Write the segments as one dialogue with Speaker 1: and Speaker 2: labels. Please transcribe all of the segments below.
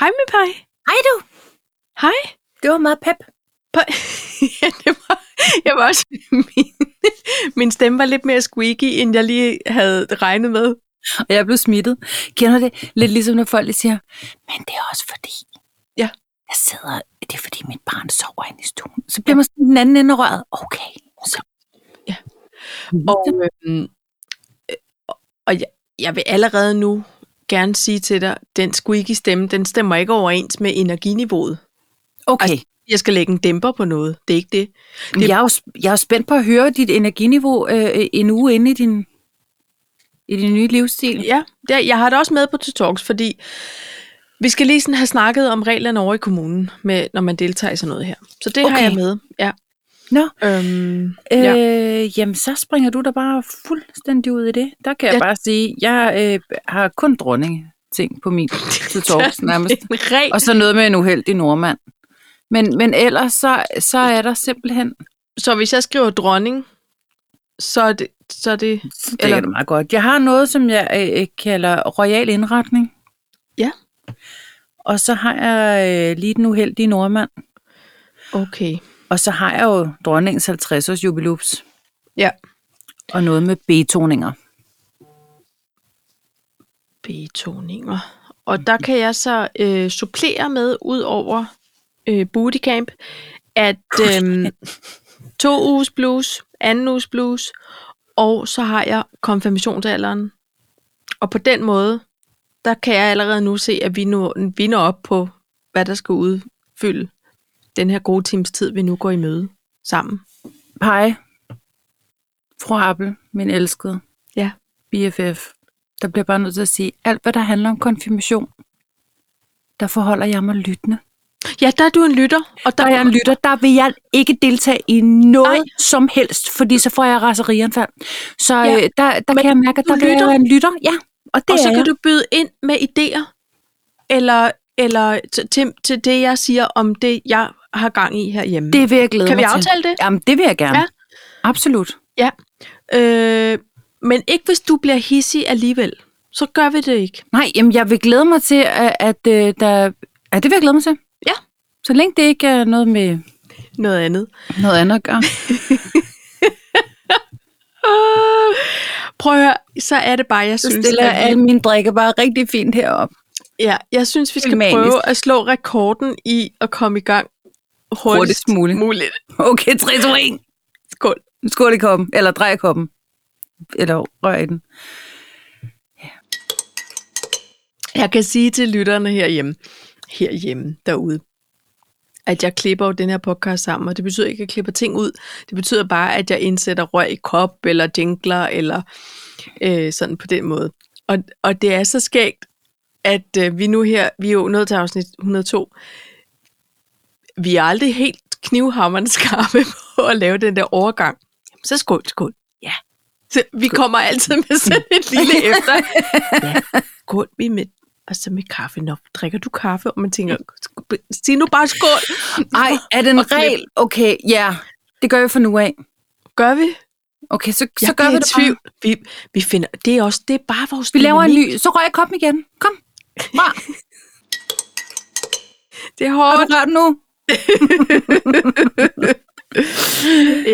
Speaker 1: Hej, min pej.
Speaker 2: Hej du.
Speaker 1: Hej.
Speaker 2: Det var meget pep.
Speaker 1: Pej. ja, det var, jeg var også, min, min stemme var lidt mere squeaky, end jeg lige havde regnet med.
Speaker 2: Og jeg blev smittet. Kender det lidt ligesom, når folk lige siger, men det er også fordi,
Speaker 1: Ja.
Speaker 2: jeg sidder, det er fordi mit barn sover inde i stuen. Så bliver man sådan den anden ende af røret. Okay, så.
Speaker 1: Ja.
Speaker 2: Og,
Speaker 1: Og, øhm, øh, og jeg, jeg vil allerede nu gerne sige til dig, den squeaky stemme, den stemmer ikke overens med energiniveauet.
Speaker 2: okay,
Speaker 1: Jeg skal lægge en dæmper på noget. Det er ikke det.
Speaker 2: det... altså, jeg, er jo, sp- jeg er jo spændt på at høre dit energiniveau øh, en uge inde i din, i din nye livsstil.
Speaker 1: Ja, det, er- jeg har det også med på til talks, fordi vi skal lige sådan have snakket om reglerne over i kommunen, med, når man deltager i sådan noget her. Så det okay. har
Speaker 2: Okay.
Speaker 1: jeg med. Ja.
Speaker 2: Nå.
Speaker 1: Øhm,
Speaker 2: Øh,
Speaker 1: Ja.
Speaker 2: Jamen, så springer du da bare fuldstændig ud i det. Der kan jeg
Speaker 1: Ja.
Speaker 2: ja. bare sige, jeg øh, har kun dronning ting på min til talks nærmest.
Speaker 1: en regel.
Speaker 2: Og så noget med en uheldig nordmand. Men, men ellers, så, så er der simpelthen...
Speaker 1: Så hvis jeg skriver dronning, så er det... Så er det
Speaker 2: Så
Speaker 1: Eller-
Speaker 2: dækker det meget godt. Jeg har noget, som jeg øh, øh, kalder royal indretning.
Speaker 1: Ja.
Speaker 2: Og så har jeg øh, lige den uheldige nordmand.
Speaker 1: okay.
Speaker 2: Og så har jeg jo dronningens 50-års jubilups.
Speaker 1: Ja.
Speaker 2: Og noget med betoninger.
Speaker 1: betoninger. Og der kan jeg så øh, supplere med, ud over øh, bootycamp, at øh, to uges blues, anden uges blues, og så har jeg konfirmationsalderen. Og på den måde, der kan jeg allerede nu se, at vi, nu, vi når op på, hvad der skal udfylde den her gode times tid, vi nu går i møde sammen.
Speaker 2: Pej, fru Appel, min elskede,
Speaker 1: Ja.
Speaker 2: BFF, der bliver bare nødt til at sige, alt hvad der handler om konfirmation, der forholder jeg mig lyttende.
Speaker 1: Ja, der er du en lytter, og der,
Speaker 2: Der er jeg en lytter, der vil jeg ikke deltage i noget Nej. som helst, fordi så får jeg raserianfald. Så
Speaker 1: Ja.
Speaker 2: ja. øh, der, der
Speaker 1: Men
Speaker 2: kan jeg mærke, at
Speaker 1: du
Speaker 2: der vil
Speaker 1: lytter.
Speaker 2: jeg være en lytter. Ja, og det
Speaker 1: og så
Speaker 2: er
Speaker 1: kan
Speaker 2: jeg.
Speaker 1: du byde ind med idéer, eller, eller t- til, til det, jeg siger om det, jeg har gang i herhjemme.
Speaker 2: Det vil jeg glæde
Speaker 1: kan vi
Speaker 2: mig
Speaker 1: aftale det?
Speaker 2: til. Jamen, det vil jeg gerne.
Speaker 1: Ja.
Speaker 2: Ja. Absolut.
Speaker 1: Ja. Øh, men ikke hvis du bliver hissig alligevel. Så gør vi det ikke.
Speaker 2: Nej, jamen, jeg vil glæde mig til, at, at øh, der... Ja, det vil jeg glæde mig til.
Speaker 1: Ja.
Speaker 2: Så længe det ikke er noget med
Speaker 1: Noget andet.
Speaker 2: noget andet at gøre.
Speaker 1: Øh, prøv at høre, så er det bare, jeg
Speaker 2: Så
Speaker 1: synes,
Speaker 2: stiller jeg
Speaker 1: at
Speaker 2: alle
Speaker 1: vi,
Speaker 2: mine drikke bare rigtig fint herop.
Speaker 1: ja, jeg synes, vi skal
Speaker 2: Filmanisk.
Speaker 1: prøve at slå rekorden i at komme i gang hurtigst,
Speaker 2: Hurtigst muligt.
Speaker 1: muligt.
Speaker 2: Okay, 3, 2, 1.
Speaker 1: Skål.
Speaker 2: Skål i koppen, eller drej i koppen. Eller rør i den.
Speaker 1: Jeg kan sige til lytterne herhjemme, herhjemme derude, at jeg klipper jo den her podcast sammen, og det betyder ikke, at jeg klipper ting ud. Det betyder bare, at jeg indsætter røg i kop, eller jingler, eller øh, sådan på den måde. Og, og det er så skægt, at øh, vi nu her, vi er jo nået til afsnit 102, vi er aldrig helt knivhammerne skarpe på at lave den der overgang. Så skål, skål. Ja. Så vi kommer altid med sådan et lille efter. Ja, skål vi med og så med kaffe. Nå, drikker du kaffe? Og man tænker, sk- sig nu bare skål.
Speaker 2: Ej, er det
Speaker 1: Og
Speaker 2: en
Speaker 1: klip.
Speaker 2: regel? Okay, ja. Yeah. Det gør vi fra nu af.
Speaker 1: Gør vi?
Speaker 2: Okay, så,
Speaker 1: Jeg
Speaker 2: så gør vi
Speaker 1: bliver
Speaker 2: det
Speaker 1: i
Speaker 2: bare.
Speaker 1: tvivl. Vi, vi finder, det er også, det er bare vores
Speaker 2: Vi laver en
Speaker 1: dynamik.
Speaker 2: ny. Så rør i koppen igen. Kom. Rør.
Speaker 1: Det er
Speaker 2: Har
Speaker 1: hårdt.
Speaker 2: du rørt nu?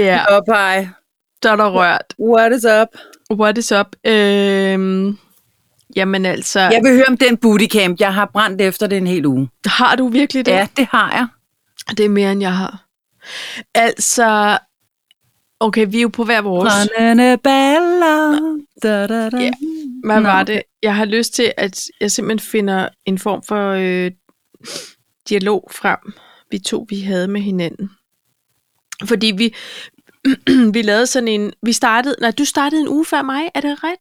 Speaker 1: Ja,
Speaker 2: Opej.
Speaker 1: så er der rørt.
Speaker 2: What is up?
Speaker 1: What is up? Øhm, jamen altså,
Speaker 2: Jeg vil høre om den bootycamp. Jeg har brændt efter det en hel uge.
Speaker 1: har du virkelig det?
Speaker 2: Ja, det har jeg.
Speaker 1: Det er mere, end jeg har. Altså, okay, vi er jo på hver vores.
Speaker 2: Brændende baller. Da, da, da.
Speaker 1: Ja. Hvad
Speaker 2: Nå,
Speaker 1: var
Speaker 2: okay.
Speaker 1: det? Jeg har lyst til, at jeg simpelthen finder en form for øh, dialog frem, vi to vi havde med hinanden. Fordi vi, vi lavede sådan en... Vi startede... Nej, du startede en uge før mig, er det ret?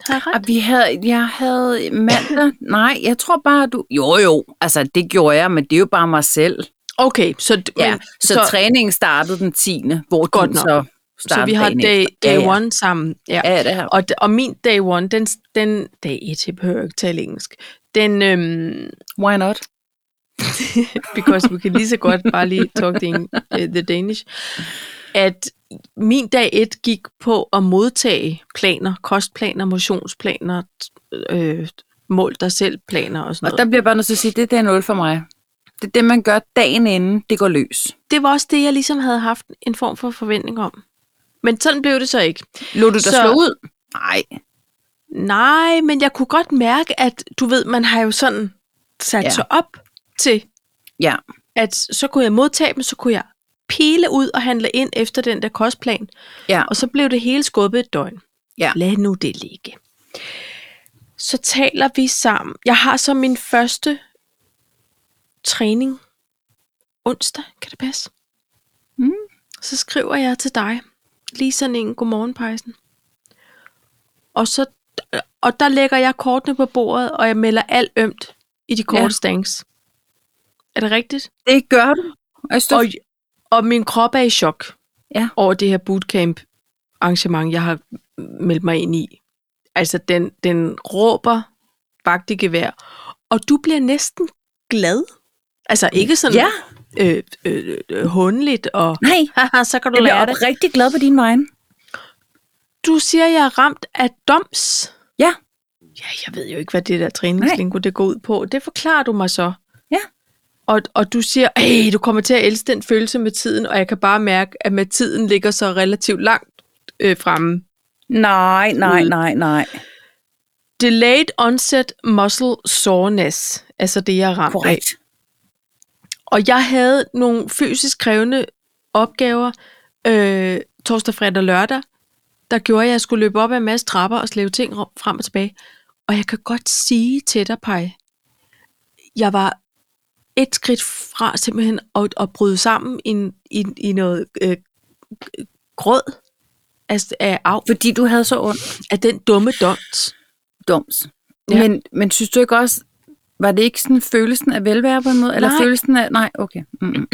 Speaker 1: Har jeg ret?
Speaker 2: Og Ah, vi havde, jeg havde mandag. Nej, jeg tror bare, du... Jo, jo. Altså, det gjorde jeg, men det er jo bare mig selv.
Speaker 1: Okay, så, d-
Speaker 2: Ja,
Speaker 1: men,
Speaker 2: så, så træningen startede den 10. Hvor
Speaker 1: Godt
Speaker 2: Godt den
Speaker 1: nok.
Speaker 2: så
Speaker 1: så
Speaker 2: startede
Speaker 1: vi har
Speaker 2: dagen
Speaker 1: day,
Speaker 2: efter.
Speaker 1: day
Speaker 2: ja,
Speaker 1: one sammen. Ja.
Speaker 2: Ja, ja det her.
Speaker 1: Og, d- og min day one, den... den dag et, jeg behøver ikke tale engelsk. Den... Øhm,
Speaker 2: Why not?
Speaker 1: because we kan lige så godt bare lige talk the, Eng- eh, the Danish, at min dag et gik på at modtage planer, kostplaner, motionsplaner, t- øh, mål dig selv planer og sådan
Speaker 2: Og
Speaker 1: noget.
Speaker 2: der bliver jeg bare nødt til at sige, det, det er 0 for mig. Det er det, man gør dagen inden, det går løs.
Speaker 1: det var også det, jeg ligesom havde haft en form for forventning om. Men sådan blev det så ikke.
Speaker 2: Lå du dig
Speaker 1: Så-
Speaker 2: slå ud? Nej.
Speaker 1: Nej, men jeg kunne godt mærke, at du ved, man har jo sådan sat
Speaker 2: Ja.
Speaker 1: ja. sig op til,
Speaker 2: Ja.
Speaker 1: at så kunne jeg modtage dem, så kunne jeg pile ud og handle ind efter den der kostplan.
Speaker 2: Ja.
Speaker 1: Og så blev det hele skubbet et døgn.
Speaker 2: Ja.
Speaker 1: Lad nu det ligge. Så taler vi sammen. Jeg har så min første træning onsdag, kan det passe?
Speaker 2: Mm.
Speaker 1: Så skriver jeg til dig, lige sådan en godmorgen, Pejsen. Og, så, og der lægger jeg kortene på bordet, og jeg melder alt ømt i de korte
Speaker 2: Ja.
Speaker 1: ja. stængs. Er det rigtigt?
Speaker 2: Det gør du. Og jeg står...
Speaker 1: Og, og min krop er i chok
Speaker 2: Ja.
Speaker 1: over det her bootcamp arrangement, jeg har meldt mig ind i. Altså, den, den råber vagt i gevær. Og du bliver næsten glad. Altså, ikke sådan
Speaker 2: Ja.
Speaker 1: øh, øh, øh, hundeligt og
Speaker 2: Nej,
Speaker 1: haha, så kan du
Speaker 2: jeg
Speaker 1: lære
Speaker 2: bliver
Speaker 1: det.
Speaker 2: rigtig glad på din vejen.
Speaker 1: Du siger, jeg er ramt af doms.
Speaker 2: Ja.
Speaker 1: Ja, jeg ved jo ikke, hvad det der træningslingo det går ud på. Det forklarer du mig så.
Speaker 2: Ja.
Speaker 1: Og, og du siger, at du kommer til at elske den følelse med tiden, og jeg kan bare mærke, at med tiden ligger så relativt langt øh, fremme.
Speaker 2: Nej, nej, nej, nej.
Speaker 1: Delayed onset muscle soreness, altså det, jeg er ramt af.
Speaker 2: Korrekt.
Speaker 1: Og jeg havde nogle fysisk krævende opgaver øh, torsdag, fredag og lørdag, der gjorde, at jeg skulle løbe op ad en masse trapper og slæve ting rum- frem og tilbage. Og jeg kan godt sige til dig, Paj, jeg var et skridt fra simpelthen at, at bryde sammen i, en- i, i noget øh, grød altså af, af,
Speaker 2: Fordi du havde så ondt.
Speaker 1: af den dumme dons.
Speaker 2: Doms. Ja.
Speaker 1: Ja.
Speaker 2: Men, men synes du ikke også, var det ikke sådan følelsen af velvære på en måde? Eller
Speaker 1: Nej.
Speaker 2: følelsen af, nej, okay. Mm.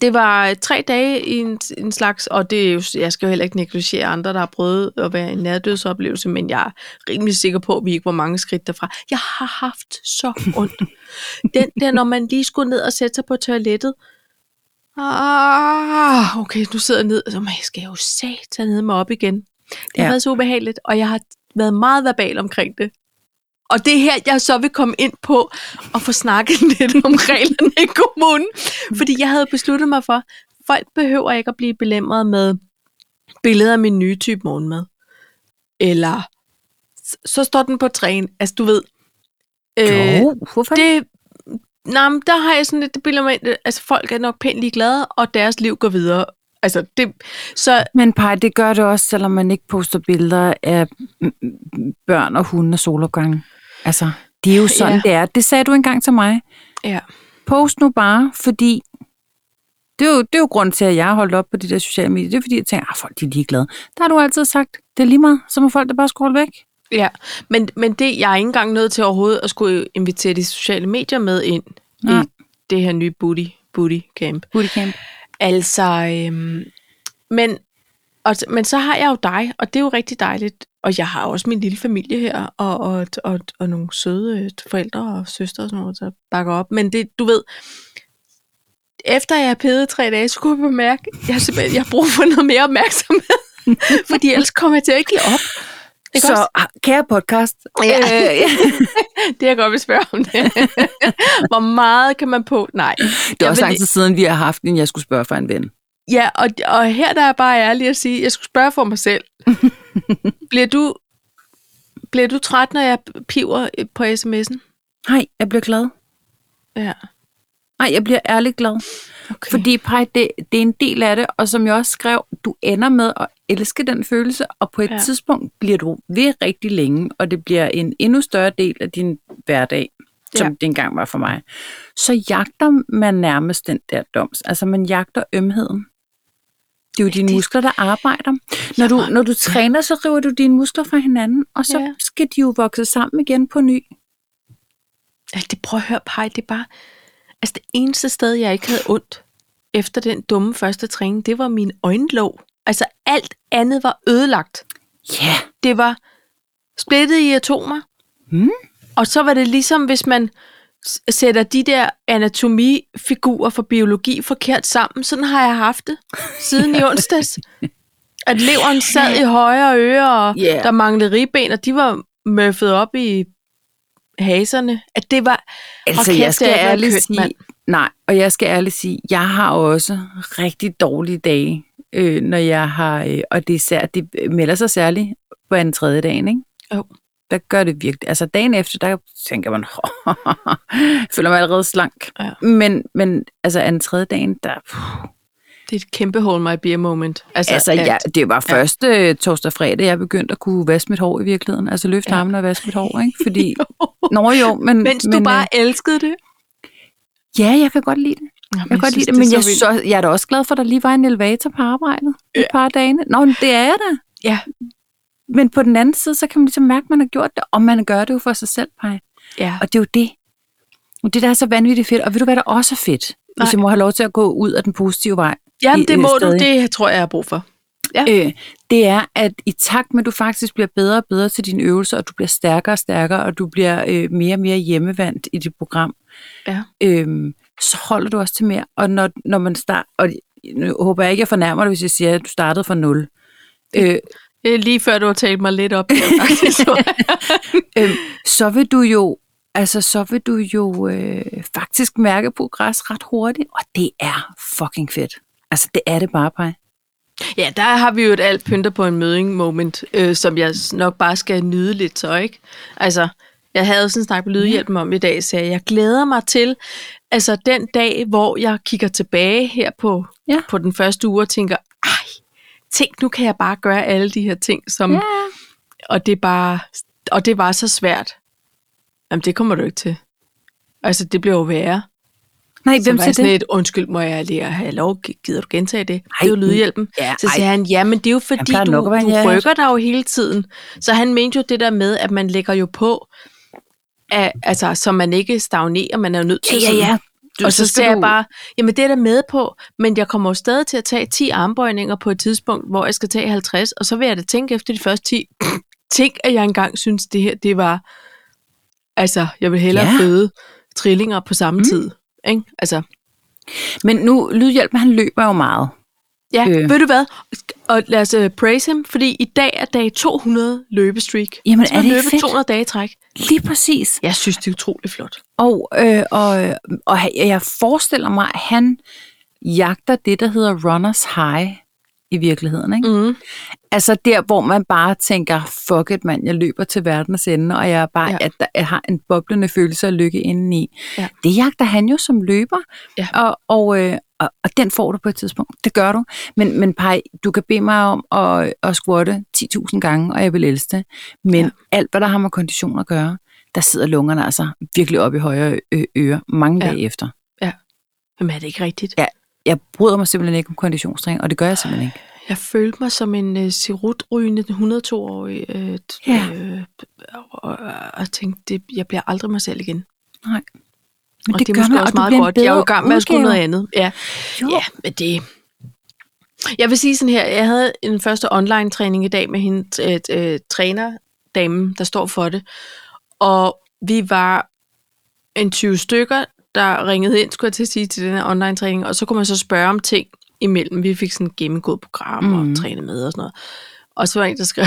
Speaker 1: Det var øh, tre dage i en, en slags, og det er jo, jeg skal jo heller ikke negligere andre, der har prøvet at være en nærdødsoplevelse, men jeg er rimelig sikker på, at vi ikke var mange skridt derfra. Jeg har haft så ondt. Den der, når man lige skulle ned og sætte sig på toilettet. Ah, okay, nu sidder jeg ned, så man skal jeg jo satan ned mig op igen. Det har
Speaker 2: Ja.
Speaker 1: ja. været så ubehageligt, og jeg har været meget verbal omkring det. Og det er her, jeg så vil komme ind på og få snakket lidt om reglerne i kommunen. Fordi jeg havde besluttet mig for, folk behøver ikke at blive belemret med billeder af min nye type morgenmad. Eller s- så står den på træen. Altså, du ved. Øh,
Speaker 2: Jo, hvorfor det?
Speaker 1: det, nej, men der har jeg sådan lidt, det billeder mig, ind- altså folk er nok pænt ligeglade, og deres liv går videre. Altså, det, så
Speaker 2: Men Paj, det gør det også, selvom man ikke poster billeder af mm, mm, børn og hunde og solopgange. Altså, det er jo sådan,
Speaker 1: Ja.
Speaker 2: ja. det er. Det sagde du engang til mig.
Speaker 1: ja.
Speaker 2: Post nu bare, fordi det er, jo, det er jo grunden til, at jeg har holdt op på de der sociale medier. Det er fordi, jeg tænker, at folk de er ligeglade. Der har du altid sagt, det er lige meget, så må folk da bare scrolle væk.
Speaker 1: Ja, men, men det, jeg er ikke engang nødt til overhovedet at skulle invitere de sociale medier med ind
Speaker 2: Nej.
Speaker 1: Nej. i det her nye booty, booty camp.
Speaker 2: Bootcamp.
Speaker 1: Altså, øhm, men, og, men så har jeg jo dig, og det er jo rigtig dejligt. Og jeg har også min lille familie her, og, og, og, og nogle søde øh, forældre og søstre og sådan noget, der bakker op. Men det, du ved, efter jeg har pædet tre dage, så kunne jeg mærke, at jeg, simpelthen- jeg har brug for noget mere opmærksomhed. Fordi ellers kommer jeg til at give op. Ikke også?
Speaker 2: Så ah, kære podcast.
Speaker 1: Ja.
Speaker 2: Øh,
Speaker 1: Det jeg godt vil spørge om det. Hvor meget kan man på? Nej.
Speaker 2: det er
Speaker 1: Jeg
Speaker 2: også
Speaker 1: vil-
Speaker 2: lang tid siden, vi har haft en, jeg skulle spørge for en ven.
Speaker 1: Ja, og, og her der er jeg bare ærlig at sige, jeg skulle spørge for mig selv. bliver, du, bliver du træt, når jeg piver øh, på sms'en?
Speaker 2: Nej, jeg bliver glad.
Speaker 1: Ja.
Speaker 2: Nej, jeg bliver ærligt glad.
Speaker 1: Okay.
Speaker 2: Fordi pej, det, det er en del af det, og som jeg også skrev, du ender med at elske den følelse, og på et ja.
Speaker 1: Ja.
Speaker 2: tidspunkt bliver du ved rigtig længe, og det bliver en endnu større del af din hverdag, som
Speaker 1: Ja.
Speaker 2: det engang var for mig. Så jagter man nærmest den der doms. Altså man jagter ømheden. Det er jo dine
Speaker 1: det-
Speaker 2: muskler, der arbejder. Når du,
Speaker 1: Ja.
Speaker 2: når du træner, så river du dine muskler fra hinanden, og så
Speaker 1: Ja.
Speaker 2: skal de jo vokse sammen igen på ny.
Speaker 1: Ja, altså, det prøv at høre, Paj, det er bare... Altså det eneste sted, jeg ikke havde ondt efter den dumme første træning, det var min øjenlåg. Altså alt andet var ødelagt.
Speaker 2: Ja. Yeah.
Speaker 1: det var splittet i atomer.
Speaker 2: Hmm.
Speaker 1: Og så var det ligesom, hvis man s- sætter de der anatomifigurer for biologi forkert sammen. Sådan har jeg haft det siden i onsdags. At leveren sad i højre øre, og
Speaker 2: Ja.
Speaker 1: der manglede ribben, og de var møffet op i haserne, at det var...
Speaker 2: Altså,
Speaker 1: kæft,
Speaker 2: jeg skal
Speaker 1: det har været
Speaker 2: ærligt
Speaker 1: kønt,
Speaker 2: sige,
Speaker 1: mand.
Speaker 2: nej, og jeg skal ærligt sige, jeg har også rigtig dårlige dage, øh, når jeg har, øh, og det, er sær, det melder sig særligt på en tredje dagen, ikke?
Speaker 1: Jo.
Speaker 2: Der gør det virkelig. Altså dagen efter, der tænker man, jeg føler mig allerede slank.
Speaker 1: Ja.
Speaker 2: Men, men altså anden tredje dagen, der... Puh,
Speaker 1: Det er et kæmpe hold my beer moment. Altså,
Speaker 2: altså,
Speaker 1: at-
Speaker 2: jeg, det var først ja. torsdag og fredag, jeg begyndte at kunne vaske mit hår i virkeligheden. Altså løfte
Speaker 1: Ja.
Speaker 2: ja. armen og vaske mit hår, ikke? Fordi, nå jo, men...
Speaker 1: Mens
Speaker 2: men,
Speaker 1: du
Speaker 2: øh,
Speaker 1: bare elskede det.
Speaker 2: Ja, jeg kan godt lide det.
Speaker 1: Jamen,
Speaker 2: Jeg kan godt lide
Speaker 1: synes,
Speaker 2: det, men jeg,
Speaker 1: så vildt.
Speaker 2: så, jeg er da også glad for, at der lige var en elevator på arbejdet ja. et par af dagene. Nå, men det er jeg da.
Speaker 1: Ja.
Speaker 2: Men på den anden side, så kan man ligesom mærke, at man har gjort det, og man gør det jo for sig selv, Paj.
Speaker 1: Ja.
Speaker 2: Og det er jo det. Og det der er så vanvittigt fedt. Og ved du, hvad der også er fedt? Nej.
Speaker 1: Nej.
Speaker 2: Hvis jeg må have lov til at gå ud af den positive vej.
Speaker 1: Jamen,
Speaker 2: i-
Speaker 1: det
Speaker 2: i
Speaker 1: må du.
Speaker 2: stedet.
Speaker 1: Det tror jeg, jeg har brug for.
Speaker 2: Øh, det er, at i takt med, at du faktisk bliver bedre og bedre til dine øvelser, og du bliver stærkere og stærkere, og du bliver øh, mere og mere hjemmevandt i dit program,
Speaker 1: Ja.
Speaker 2: øhm, så holder du også til mere. Og når, når man starter, og nu håber jeg ikke, jeg fornærmer dig, hvis jeg siger, at du startede fra nul. Øh,
Speaker 1: Det er lige før, du har talt mig lidt op. der, faktisk.
Speaker 2: øhm, så vil du jo, altså så vil du jo øh, faktisk mærke progress ret hurtigt, og det er fucking fedt. Altså det er det bare, Paj.
Speaker 1: ja, der har vi jo et alt pynter på en møding moment, øh, som jeg nok bare skal nyde lidt så, ikke? Altså, jeg havde sådan en snak med Lydhjælpen om i dag, så jeg glæder mig til, altså den dag, hvor jeg kigger tilbage her på,
Speaker 2: Ja.
Speaker 1: på den første uge og tænker, ej, tænk, nu kan jeg bare gøre alle de her ting, som,
Speaker 2: Ja.
Speaker 1: og det er bare, og det var så svært. Jamen, det kommer du ikke til. Altså, det bliver jo værre.
Speaker 2: Nej,
Speaker 1: Så
Speaker 2: hvem
Speaker 1: var jeg
Speaker 2: siger
Speaker 1: sådan
Speaker 2: det?
Speaker 1: et, undskyld, må jeg lige have lov, gider du gentage det? Ej,
Speaker 2: Ej,
Speaker 1: det er jo lydhjælpen.
Speaker 2: ja,
Speaker 1: så
Speaker 2: ej.
Speaker 1: siger han, ja, men det er jo fordi,
Speaker 2: plejer
Speaker 1: du,
Speaker 2: nok at være en
Speaker 1: du
Speaker 2: ja.
Speaker 1: rykker dig jo hele tiden. Så han mente jo det der med, at man lægger jo på, at, altså, så man ikke stagnerer, man er jo nødt til sådan-
Speaker 2: Du,
Speaker 1: og så, så
Speaker 2: skal
Speaker 1: ser jeg
Speaker 2: du-
Speaker 1: bare, jamen det er der med på, men jeg kommer jo stadig til at tage 10 armbøjninger på et tidspunkt, hvor jeg skal tage 50, og så vil jeg da tænke efter de første 10, tænk at jeg engang synes det her, det var, altså jeg vil hellere ja.
Speaker 2: Ja.
Speaker 1: føde trillinger på samme mm. tid. Ikke? Altså,
Speaker 2: Men nu, Lydhjælpen, han løber jo meget.
Speaker 1: ja, øh.
Speaker 2: Øh.
Speaker 1: ved du hvad? Og lad os uh, praise ham, fordi i dag er dag 200 løbestreak.
Speaker 2: Jamen,
Speaker 1: Så
Speaker 2: er det ikke
Speaker 1: løbet
Speaker 2: fedt?
Speaker 1: 200 dage i træk.
Speaker 2: Lige præcis.
Speaker 1: Jeg synes, det er utroligt flot.
Speaker 2: Og, øh, og, øh, og han- jeg forestiller mig, at han jagter det, der hedder runners high i virkeligheden. Ikke?
Speaker 1: Mm.
Speaker 2: Altså der, hvor man bare tænker, fuck it mand, jeg løber til verdens ende, og jeg, er bare,
Speaker 1: Ja.
Speaker 2: ja. jeg, der, jeg har en boblende følelse af lykke indeni.
Speaker 1: Ja.
Speaker 2: Det jagter han jo som løber,
Speaker 1: Ja.
Speaker 2: og, og, øh, og, og den får du på et tidspunkt. Det gør du. Men, men Paj, du kan bede mig om at, at squatte 10.000 gange, og jeg vil elske det. Men
Speaker 1: Ja.
Speaker 2: ja. alt, hvad der har med kondition at gøre, der sidder lungerne altså virkelig oppe i højre ø- øre mange
Speaker 1: Ja.
Speaker 2: ja. dage efter.
Speaker 1: Jamen er det ikke rigtigt?
Speaker 2: Jeg bryder mig simpelthen ikke om konditionstræning, og det gør jeg simpelthen ikke.
Speaker 1: Jeg følte mig som en øh, sirutrygende 102-årig, øh, t-
Speaker 2: Ja.
Speaker 1: øh, og, og, og tænkte, det, jeg bliver aldrig mig selv igen.
Speaker 2: Nej. Men
Speaker 1: og
Speaker 2: det,
Speaker 1: det,
Speaker 2: gør
Speaker 1: er måske
Speaker 2: man,
Speaker 1: også
Speaker 2: og du
Speaker 1: meget
Speaker 2: bliver en
Speaker 1: godt. Jeg er jo i
Speaker 2: bedre
Speaker 1: gang med at skulle
Speaker 2: udgave.
Speaker 1: noget andet. Ja.
Speaker 2: Jo.
Speaker 1: ja, men det... Jeg vil sige sådan her, jeg havde en første online-træning i dag med hende, t- øh, trænerdamen, der står for det. Og vi var en 20 stykker, der ringede ind, skulle jeg til at sige, til den her online-træning. Og så kunne man så spørge om ting imellem. Vi fik sådan et gennemgået program mm.
Speaker 2: Mhm.
Speaker 1: og træne med og sådan noget. Og så var der en, der skrev,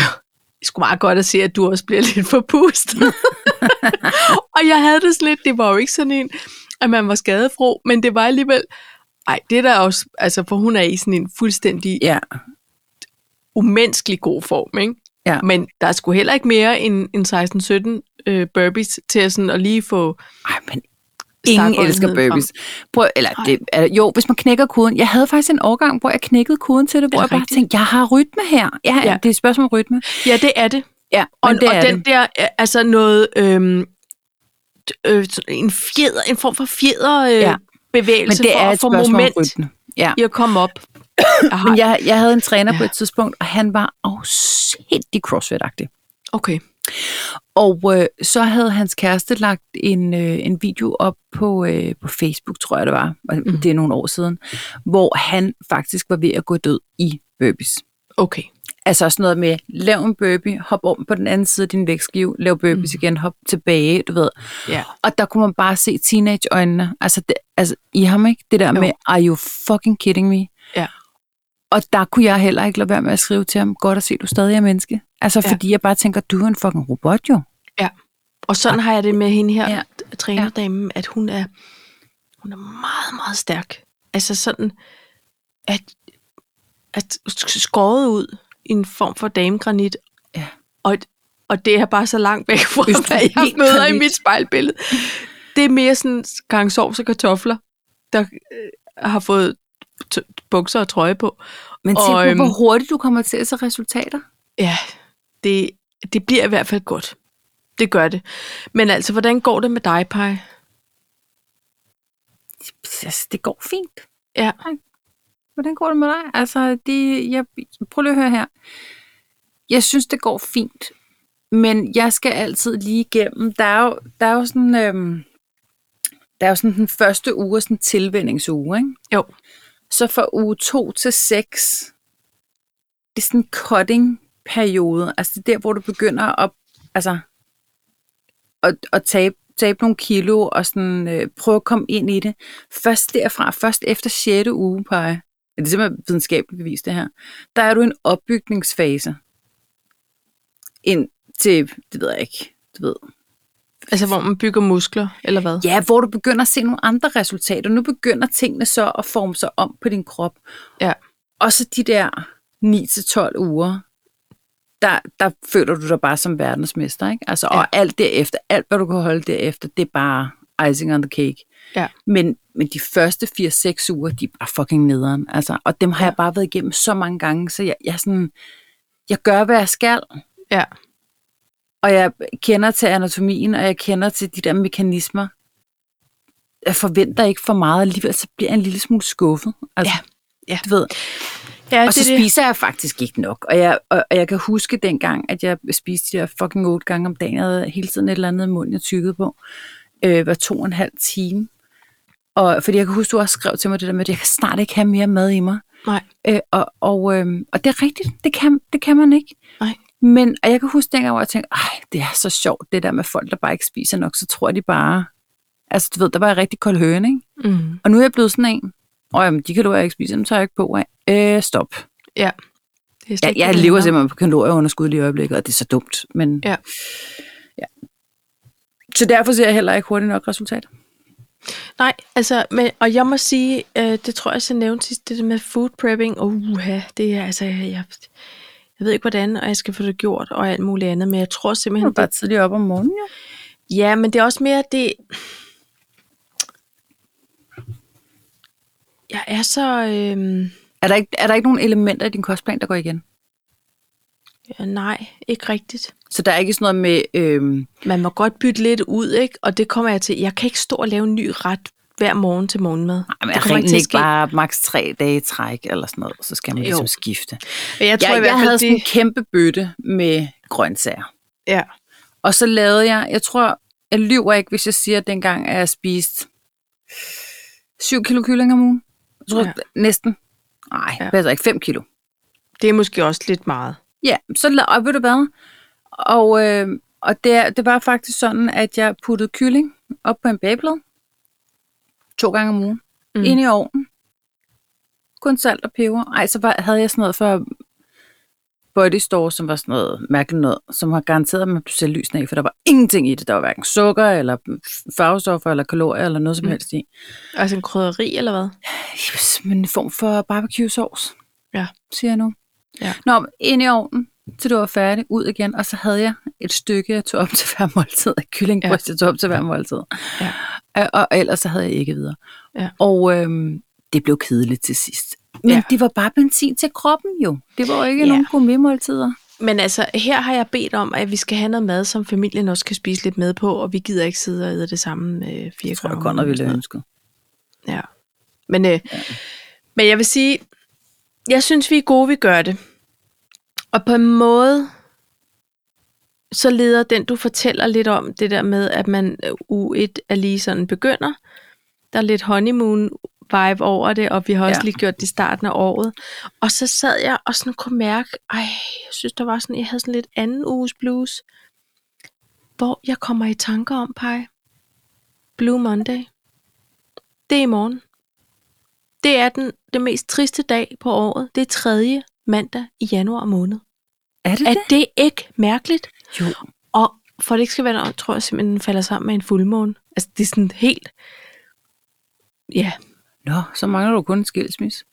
Speaker 1: det skulle meget godt at se, at du også bliver lidt forpustet. og jeg havde det sådan lidt, det var jo ikke sådan en, at man var skadefro, men det var alligevel, ej, det er der også, altså for hun er i sådan en fuldstændig
Speaker 2: Ja.
Speaker 1: umenneskelig god form, ikke?
Speaker 2: Ja.
Speaker 1: Men der er sgu heller ikke mere end, end 16-17 øh, burpees til at sådan at lige få...
Speaker 2: Ej, men ingen elsker
Speaker 1: Stakåndenheden
Speaker 2: burpees. Prøv, eller
Speaker 1: Nej.
Speaker 2: det, er, jo, hvis man knækker koden. Jeg havde faktisk en årgang, hvor jeg knækkede koden til det, hvor
Speaker 1: det
Speaker 2: jeg bare
Speaker 1: rigtigt?
Speaker 2: tænkte, jeg har rytme her. Ja,
Speaker 1: Ja.
Speaker 2: ja. det er et spørgsmål om rytme.
Speaker 1: Ja, det er det.
Speaker 2: Ja,
Speaker 1: Og,
Speaker 2: men det
Speaker 1: og
Speaker 2: er
Speaker 1: den
Speaker 2: det.
Speaker 1: der, øh, altså noget, øhm, øh, en fjeder, en form for fjeder øh, ja.
Speaker 2: Ja. Men
Speaker 1: bevægelse
Speaker 2: det
Speaker 1: for
Speaker 2: er
Speaker 1: at
Speaker 2: et
Speaker 1: få
Speaker 2: spørgsmål
Speaker 1: moment
Speaker 2: om rytme. Ja.
Speaker 1: i at komme op. Aha,
Speaker 2: Men jeg, jeg havde en træner ja. på
Speaker 1: Ja.
Speaker 2: et tidspunkt, og han var afsindig crossfit-agtig.
Speaker 1: okay.
Speaker 2: Og øh, så havde hans kæreste lagt en, øh, en video op på, øh, på Facebook, tror jeg det var, og
Speaker 1: Mhm.
Speaker 2: det er nogle år siden, hvor han faktisk var ved at gå død i burpees.
Speaker 1: Okay.
Speaker 2: Altså sådan noget med, lav en burpee, hop om på den anden side af din vægtskive, lav burpees mm. igen, hop tilbage, du ved.
Speaker 1: Ja.
Speaker 2: Og der kunne man bare se teenageøjnene, altså, det, altså i ham ikke, det der
Speaker 1: Jo.
Speaker 2: jo. med, are you fucking kidding me?
Speaker 1: Ja.
Speaker 2: Og der kunne jeg heller ikke lade være med at skrive til ham, godt at se, du stadig er menneske. Altså
Speaker 1: Ja.
Speaker 2: fordi jeg bare tænker, du er en fucking robot jo.
Speaker 1: Og sådan har jeg det med hende her,
Speaker 2: Ja.
Speaker 1: ja. trænerdamen, at hun er, hun er meget, meget stærk. Altså sådan, at, at skåret ud i en form for damegranit.
Speaker 2: Ja.
Speaker 1: Og, og det er bare så langt væk fra, hvad jeg
Speaker 2: Østervildgranit.
Speaker 1: møder i mit spejlbillede. Det er mere sådan gang sovs og kartofler, der øh, har fået t- bukser og trøje på.
Speaker 2: Men tænk
Speaker 1: Og,
Speaker 2: på, hvor
Speaker 1: øhm,
Speaker 2: hurtigt du kommer til at se resultater.
Speaker 1: Ja, det, det bliver i hvert fald godt. Det gør det. Men altså, hvordan går det med dig, Paj?
Speaker 2: Altså, det går fint.
Speaker 1: Ja.
Speaker 2: Hvordan går det med dig? Altså, det, jeg, prøv lige at høre her. Jeg synes, det går fint, men jeg skal altid lige igennem. Der er jo, der er jo sådan... Øhm, der er jo sådan den første uge, er sådan en tilvændingsuge, ikke?
Speaker 1: Jo.
Speaker 2: Så fra uge 2 til 6, det er sådan en cutting-periode. Altså det er der, hvor du begynder at, altså, at, at tabe, tabe nogle kilo og sådan, øh, prøve at komme ind i det. Først derfra, først efter 6. uge, Paj, det er simpelthen videnskabeligt bevist det her, der er du i en opbygningsfase. Ind til, det ved jeg ikke, du ved,
Speaker 1: Altså, hvor man bygger muskler, eller hvad?
Speaker 2: Ja, hvor du begynder at se nogle andre resultater. Nu begynder tingene så at forme sig om på din krop.
Speaker 1: Ja.
Speaker 2: Og så de der 9-12 uger, der, der føler du dig bare som verdensmester. Ikke? Altså,
Speaker 1: Ja.
Speaker 2: Og alt derefter, alt hvad du kan holde derefter, det er bare icing on the cake.
Speaker 1: Ja.
Speaker 2: Men, men de første 4-6 uger, de er bare fucking nederen. Altså, og dem har
Speaker 1: Ja.
Speaker 2: ja. jeg bare været igennem så mange gange, så jeg, jeg, er sådan, jeg gør, hvad jeg skal.
Speaker 1: Ja.
Speaker 2: Og jeg kender til anatomien, og jeg kender til de der mekanismer. Jeg forventer ikke for meget, alligevel så bliver jeg en lille smule skuffet. Altså,
Speaker 1: Ja, ja.
Speaker 2: Du ved.
Speaker 1: Ja,
Speaker 2: Og så spiser jeg faktisk ikke nok. Og jeg, og, og jeg kan huske dengang, at jeg spiste de der fucking otte gange om dagen. Jeg havde hele tiden et eller andet i munden, jeg tykkede på. Øh, var to og en halv time. Og, fordi jeg kan huske, du også skrev til mig det der med, at jeg kan snart ikke have mere mad i mig.
Speaker 1: Nej,
Speaker 2: Øh, og, og, øh, og det er rigtigt, det kan, det kan man ikke.
Speaker 1: nej.
Speaker 2: Men og jeg kan huske dengang, hvor jeg tænkte, Ej, det er så sjovt, det der med folk, der bare ikke spiser nok, så tror de bare... Altså, du ved, der var jeg rigtig kold høne, ikke?
Speaker 1: Mm.
Speaker 2: Og nu er jeg blevet sådan en. Åh, jamen, de kalorier, jeg ikke spiser, dem tager jeg ikke på af. Øh, stop.
Speaker 1: Ja. Det er slet
Speaker 2: Jeg,
Speaker 1: ikke
Speaker 2: jeg
Speaker 1: det,
Speaker 2: lever
Speaker 1: det handler om.
Speaker 2: simpelthen på kalorieunderskud lige i øjeblikket, og det er så dumt. Men...
Speaker 1: Ja.
Speaker 2: ja. Så derfor ser jeg heller ikke hurtigt nok resultat.
Speaker 1: Nej, altså, men, og jeg må sige, øh, det tror jeg, så nævnte sidst, det der med food prepping, og uha, det er altså, jeg, jeg ved ikke hvordan, og jeg skal få det gjort, og alt muligt andet, men jeg tror
Speaker 2: Nu er
Speaker 1: simpelthen,
Speaker 2: bare tidligere op om morgenen, ja.
Speaker 1: Ja, men det er også mere det... Jeg er så... Øhm,
Speaker 2: Er der, ikke, er der ikke nogen elementer i din kostplan, der går igen?
Speaker 1: ja, nej, ikke rigtigt.
Speaker 2: Så der er ikke sådan noget med... Øh,
Speaker 1: Man må godt bytte lidt ud, ikke? Og det kommer jeg til. Jeg kan ikke stå og lave en ny ret hver morgen til morgenmad.
Speaker 2: Jamen,
Speaker 1: det
Speaker 2: jeg
Speaker 1: kommer
Speaker 2: ringer
Speaker 1: til at
Speaker 2: altså, ikke
Speaker 1: ske.
Speaker 2: bare maks tre dage i træk eller sådan noget, så skal man
Speaker 1: Jo.
Speaker 2: ligesom skifte. Jeg,
Speaker 1: Men Jeg tror
Speaker 2: jeg,
Speaker 1: i hvert
Speaker 2: jeg havde
Speaker 1: fald,
Speaker 2: sådan en
Speaker 1: det...
Speaker 2: kæmpe bøtte med grøntsager.
Speaker 1: Ja,
Speaker 2: Og så lavede jeg, jeg tror, jeg lyver ikke, hvis jeg siger, at dengang at jeg spiste 7 kilo kylling om ugen. Jeg tror,
Speaker 1: Ja.
Speaker 2: ja. næsten. Nej,
Speaker 1: Ja.
Speaker 2: ja. passer ikke. 5 kilo.
Speaker 1: det er måske også lidt meget.
Speaker 2: Ja, så la- og ved du hvad? Og, øh, og det, er- det var faktisk sådan, at jeg puttede kylling op på en bageplade to gange om ugen,
Speaker 1: Mm.
Speaker 2: mm. ind i ovnen. Kun salt og peber. Ej, så var, havde jeg sådan noget for Body Store, som var sådan noget mærkeligt noget, som har garanteret, at man blev selv lysende af, for der var ingenting i det. Der var hverken sukker, eller farvestoffer, eller kalorier, eller noget som
Speaker 1: Mm.
Speaker 2: helst i.
Speaker 1: Altså en krydderi, eller hvad?
Speaker 2: Yes, men en form for barbecue sauce.
Speaker 1: Ja.
Speaker 2: Siger jeg nu.
Speaker 1: Ja.
Speaker 2: Nå, men ind i ovnen, til du var færdig, ud igen, og så havde jeg et stykke, jeg tog op til hver måltid, af kyllingbryst, jeg tog op til hver måltid. Øh,
Speaker 1: Ja.
Speaker 2: Og, og ellers så havde jeg ikke videre.
Speaker 1: Ja.
Speaker 2: Og øhm, det blev kedeligt til sidst. Men
Speaker 1: Ja.
Speaker 2: ja. det var bare benzin til kroppen jo. Det var jo ikke
Speaker 1: Ja.
Speaker 2: ja. nogen gourmetmåltider.
Speaker 1: Men altså, her har jeg bedt om, at vi skal have noget mad, som familien også kan spise lidt med på, og vi gider ikke sidde og æde det samme øh, fire
Speaker 2: Jeg tror,
Speaker 1: gange om
Speaker 2: jeg godt
Speaker 1: ugen
Speaker 2: ville
Speaker 1: og sådan
Speaker 2: have
Speaker 1: noget.
Speaker 2: ønsket.
Speaker 1: Ja. Men, øh, ja. men jeg vil sige, jeg synes, vi er gode, vi gør det. Og på en måde, så leder den, du fortæller lidt om, det der med, at man øh, uge 1 er lige sådan begynder. Der er lidt honeymoon vibe over det, og vi har også ja.
Speaker 2: Ja.
Speaker 1: lige gjort det i starten af året. Og så sad jeg og sådan kunne mærke, ej, jeg synes, der var sådan, jeg havde sådan lidt anden uges blues, hvor jeg kommer i tanker om, Paj, Blue Monday. Det er i morgen. Det er den, den mest triste dag på året. Det er tredje mandag i januar måned.
Speaker 2: Er det
Speaker 1: Er
Speaker 2: det?
Speaker 1: det ikke mærkeligt?
Speaker 2: Jo.
Speaker 1: Og for at det ikke skal være en ånd, tror jeg simpelthen, den falder sammen med en fuldmåne. Altså, det er sådan helt... Ja,
Speaker 2: Nå, så mangler du kun en skilsmisse.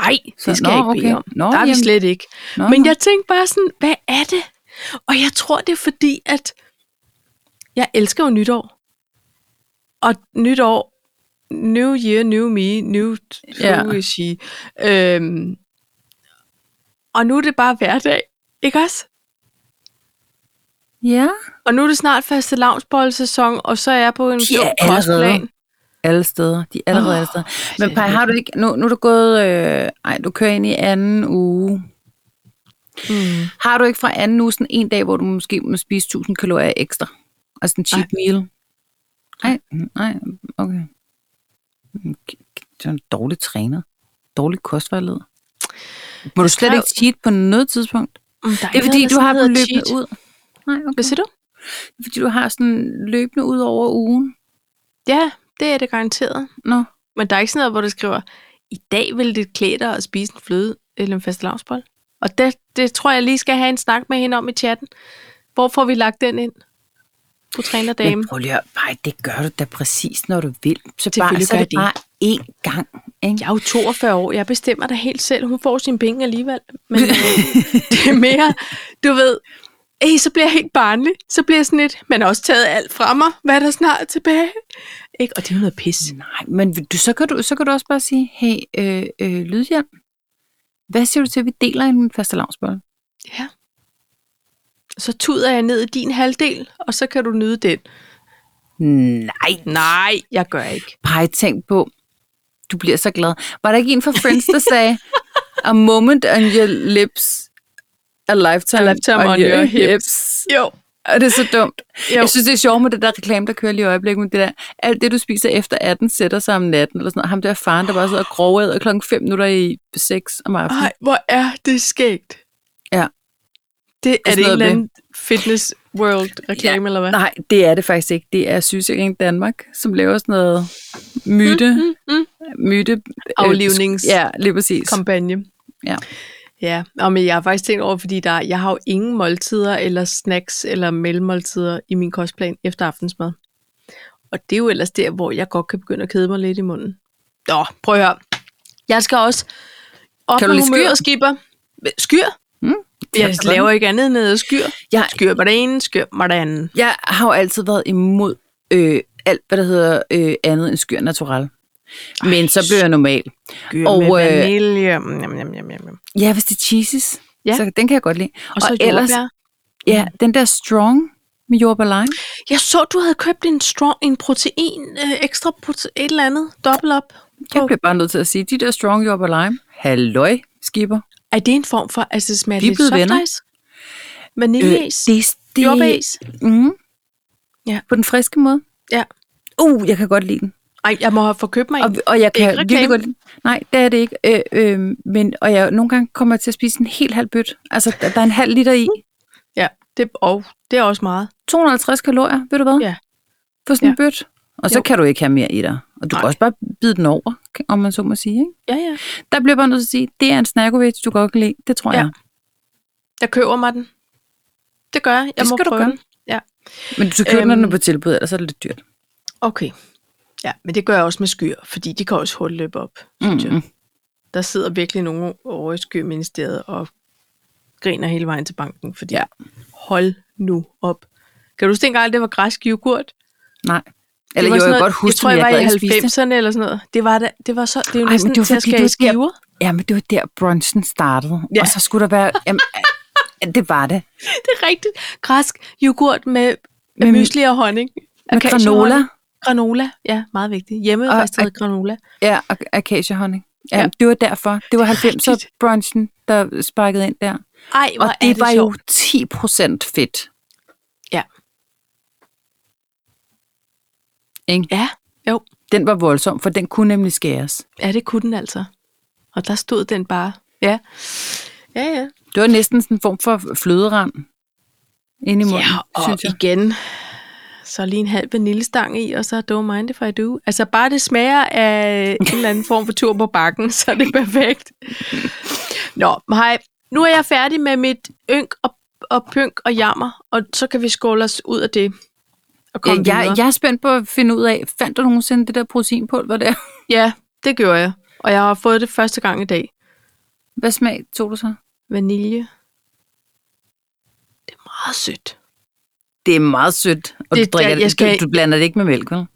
Speaker 1: nej,
Speaker 2: Så-
Speaker 1: det skal
Speaker 2: nå,
Speaker 1: jeg ikke bede
Speaker 2: okay.
Speaker 1: om.
Speaker 2: Nå,
Speaker 1: der er vi
Speaker 2: jamen.
Speaker 1: slet ikke.
Speaker 2: Nå,
Speaker 1: Men jeg tænkte bare sådan, hvad er det? Og jeg tror, det er fordi, at jeg elsker jo nytår. Og nytår, new year, new me, new
Speaker 2: Ja.
Speaker 1: yeah. she. Øhm, og nu er det bare hverdag, ikke også?
Speaker 2: Ja.
Speaker 1: Og nu er det snart faste sæson, og så er jeg på en
Speaker 2: De
Speaker 1: blå
Speaker 2: er allerede-
Speaker 1: kostplan.
Speaker 2: Alle steder. De er allerede
Speaker 1: Åh,
Speaker 2: oh, alle steder. Men
Speaker 1: ja.
Speaker 2: Paj, har du ikke... Nu, nu er du gået... Øh, ej, du kører ind i anden uge.
Speaker 1: Mm.
Speaker 2: Har du ikke fra anden uge sådan en dag, hvor du måske må spise 1000 kalorier ekstra? Altså en cheat meal? Nej, nej, okay. Mm, k- k- Du er en dårlig træner. Dårlig kostvejleder. Må du slet
Speaker 1: skrev-
Speaker 2: ikke cheat på noget tidspunkt?
Speaker 1: Mm,
Speaker 2: Det er fordi, du har dem løbende ud. Nej, okay.
Speaker 1: Hvad siger du?
Speaker 2: Det er fordi, du har sådan løbende ud over ugen.
Speaker 1: Ja, det er det garanteret.
Speaker 2: Nå,
Speaker 1: Men der er ikke sådan noget, hvor det skriver, i dag vil det klæde dig at spise en fløde eller en fastelavnsbold. Og det, det tror jeg lige skal have en snak med hende om i chatten. Hvor får vi lagt den ind? Du træner dame.
Speaker 2: Men prøv lige at, nej, det gør du da præcis, når du vil. Så bare,
Speaker 1: Selvfølgelig
Speaker 2: så er
Speaker 1: gør
Speaker 2: det
Speaker 1: jeg
Speaker 2: bare én gang. Ikke?
Speaker 1: Jeg er jo 42 år. Jeg bestemmer da helt selv. Hun får sine penge alligevel. Men øh, det er mere, du ved, ey, så bliver jeg helt barnlig. Så bliver jeg sådan lidt, man har også taget alt fra mig. Hvad er der snart tilbage? Ikke? Og det er jo noget pis.
Speaker 2: Nej, men vil du, så, kan du, så kan du også bare sige, hey, øh, øh, Lydhjem, hvad siger du til, at vi deler en faste lavnsbolle?
Speaker 1: Ja. Så tuder jeg ned i din halvdel, og så kan du nyde den.
Speaker 2: Nej,
Speaker 1: Nej, jeg gør ikke.
Speaker 2: bare tænk på, du bliver så glad. Var der ikke en fra Friends, der sagde, a moment on your lips, a lifetime,
Speaker 1: A lifetime on your
Speaker 2: hips.
Speaker 1: Jo.
Speaker 2: Og det er så dumt.
Speaker 1: Jo.
Speaker 2: Jo. Jeg synes, det er sjovt med det der reklame, der kører lige i øjeblikket, men det der, alt det, du spiser efter 18, sætter sig om natten, eller sådan noget. Ham der faren, der bare sidder og grovede klokken 5 minutter i 6 om aftenen.
Speaker 1: Ej, hvor er det skægt.
Speaker 2: Ja.
Speaker 1: Det er, det
Speaker 2: sådan
Speaker 1: en
Speaker 2: noget
Speaker 1: eller
Speaker 2: med-
Speaker 1: anden fitness world reklame, ja. eller hvad?
Speaker 2: Nej, det er det faktisk ikke. Det er Sygesikring Danmark, som laver sådan noget myte, mm,
Speaker 1: mm, mm.
Speaker 2: myte øh,
Speaker 1: Aflivnings-
Speaker 2: ja, lige præcis. Kom.
Speaker 1: Kampagne.
Speaker 2: Ja.
Speaker 1: Ja, og men jeg har faktisk tænkt over, fordi der, jeg har jo ingen måltider eller snacks eller mellemmåltider i min kostplan efter aftensmad. Og det er jo ellers der, hvor jeg godt kan begynde at kede mig lidt i munden. Nå, prøv at høre. Jeg skal også op kan
Speaker 2: Kan du
Speaker 1: med
Speaker 2: lide skyr?
Speaker 1: humøret, skipper. Skyr?
Speaker 2: Mm,
Speaker 1: Jeg
Speaker 2: sådan.
Speaker 1: laver ikke andet end at skyr.
Speaker 2: Jeg,
Speaker 1: Skyr på det ene, skyr på det andet.
Speaker 2: jeg har jo altid været imod øh, alt, hvad der hedder øh, andet end skyr natural. Men så blev jeg normal.
Speaker 1: Skyr
Speaker 2: Og,
Speaker 1: og, med
Speaker 2: øh,
Speaker 1: vanilje. Mm, Jam, jam, jam, jam, jam.
Speaker 2: Ja, hvis det er cheeses,
Speaker 1: Ja.
Speaker 2: ja. så den kan jeg godt lide.
Speaker 1: Og så
Speaker 2: ellers,
Speaker 1: jordbær. Mm.
Speaker 2: ja, den der strong med jordbær lime.
Speaker 1: Jeg så, du havde købt en strong, en protein, øh, ekstra protein, et eller andet, dobbelt op.
Speaker 2: Jeg
Speaker 1: På.
Speaker 2: bliver bare nødt til at sige, de der strong jordbær lime, halløj, skipper.
Speaker 1: Er det en form for, altså det smager
Speaker 2: Vi er
Speaker 1: lidt
Speaker 2: blevet venner.
Speaker 1: softice? Vaniljeis? Øh,
Speaker 2: det, det,
Speaker 1: Jordbæris?
Speaker 2: Mm.
Speaker 1: Ja.
Speaker 2: På den friske måde.
Speaker 1: Ja.
Speaker 2: Uh, jeg kan godt lide den.
Speaker 1: Ej, jeg må have forkøbt mig en.
Speaker 2: Og, og jeg
Speaker 1: Det er
Speaker 2: kan
Speaker 1: ikke
Speaker 2: virkelig
Speaker 1: reklame.
Speaker 2: godt lide Nej, det er det ikke. Øh, øh, men, og jeg nogle gange kommer jeg til at spise en helt halv bøt. Altså, der, der er en halv liter i.
Speaker 1: Ja, det, og det er også meget.
Speaker 2: 250 kalorier, ved du hvad?
Speaker 1: Ja.
Speaker 2: For sådan en
Speaker 1: Ja.
Speaker 2: bøt. Og så
Speaker 1: Jo.
Speaker 2: kan du ikke have mere i dig. Og du Nej.
Speaker 1: Nej.
Speaker 2: kan også bare bide den over, om man så må sige. Ikke?
Speaker 1: Ja, ja.
Speaker 2: Der bliver jeg bare nødt til at sige, det er en snackovic, du godt kan lide. Det tror
Speaker 1: Ja.
Speaker 2: ja. jeg.
Speaker 1: Jeg køber mig den. Det gør jeg. Jeg
Speaker 2: Det
Speaker 1: må
Speaker 2: skal du
Speaker 1: prøve
Speaker 2: gøre.
Speaker 1: den. Ja.
Speaker 2: Men du skal købe
Speaker 1: Øhm.
Speaker 2: øhm. den når den er på tilbud, ellers er det lidt dyrt.
Speaker 1: Okay. Ja, men det gør jeg også med skyer, fordi de kan også hurtigt løbe op, synes mm. jeg.
Speaker 2: Mm.
Speaker 1: Der sidder virkelig nogen over i skyministeriet og griner hele vejen til banken, fordi ja.
Speaker 2: Ja.
Speaker 1: hold nu op. Kan du huske dengang, det var græsk yoghurt? Det
Speaker 2: Nej. Eller
Speaker 1: var
Speaker 2: jo, jeg
Speaker 1: sådan
Speaker 2: kan
Speaker 1: noget-
Speaker 2: godt huske,
Speaker 1: jeg tror,
Speaker 2: men
Speaker 1: jeg var
Speaker 2: gad
Speaker 1: i
Speaker 2: ikke spise det.
Speaker 1: 90'erne eller sådan noget. Det var, da, det var så, det er jo
Speaker 2: Ej, men
Speaker 1: næsten
Speaker 2: det var
Speaker 1: til at
Speaker 2: fordi,
Speaker 1: skære i
Speaker 2: det var der-
Speaker 1: skiver.
Speaker 2: Ja, men det var der, brunchen startede.
Speaker 1: Ja.
Speaker 2: Ja. Og så skulle der være... Jamen, ja, det var det.
Speaker 1: Det er rigtigt. Græsk yoghurt med, med
Speaker 2: Med-
Speaker 1: mysli og honning.
Speaker 2: Med granola.
Speaker 1: Granola, ja, meget vigtigt. Hjemmeristede granola.
Speaker 2: Ja, og akaciehonning. Ja,
Speaker 1: Ja.
Speaker 2: ja, det var derfor. Det var
Speaker 1: rigtigt.
Speaker 2: 90'er brunchen, der sparkede ind der.
Speaker 1: Ej, hvor
Speaker 2: Og
Speaker 1: er
Speaker 2: det var jo
Speaker 1: sjovt.
Speaker 2: 10 procent fedt.
Speaker 1: Ja.
Speaker 2: Ikke?
Speaker 1: Ja, jo.
Speaker 2: Den var voldsom, for den kunne nemlig skæres.
Speaker 1: Ja, det kunne den altså. Og der stod den bare. Ja. Ja, ja.
Speaker 2: Det var næsten sådan en form for fløderand ind i munden,
Speaker 1: Ja, og
Speaker 2: synes jeg.
Speaker 1: igen, så lige en halv vaniljestang i, og så don't mind if I do. Altså bare det smager af en eller anden form for tur på bakken, så er det perfekt. Nå, hej. Nu er jeg færdig med mit ynk og, og pynk og jammer, og så kan vi skåle os ud af det og komme
Speaker 2: Jeg,
Speaker 1: ja, videre.
Speaker 2: jeg, jeg er spændt på at finde ud af, fandt du nogensinde det der proteinpulver der?
Speaker 1: Ja, det gjorde jeg. Og jeg har fået det første gang i dag.
Speaker 2: Hvad smag tog du så?
Speaker 1: Vanilje. Det er meget sødt.
Speaker 2: Det er meget sødt, og
Speaker 1: Det-
Speaker 2: det, du, drikker,
Speaker 1: jeg-
Speaker 2: jeg,
Speaker 1: jeg skal-
Speaker 2: du, du blander det ikke med mælk, vel?
Speaker 1: Nej,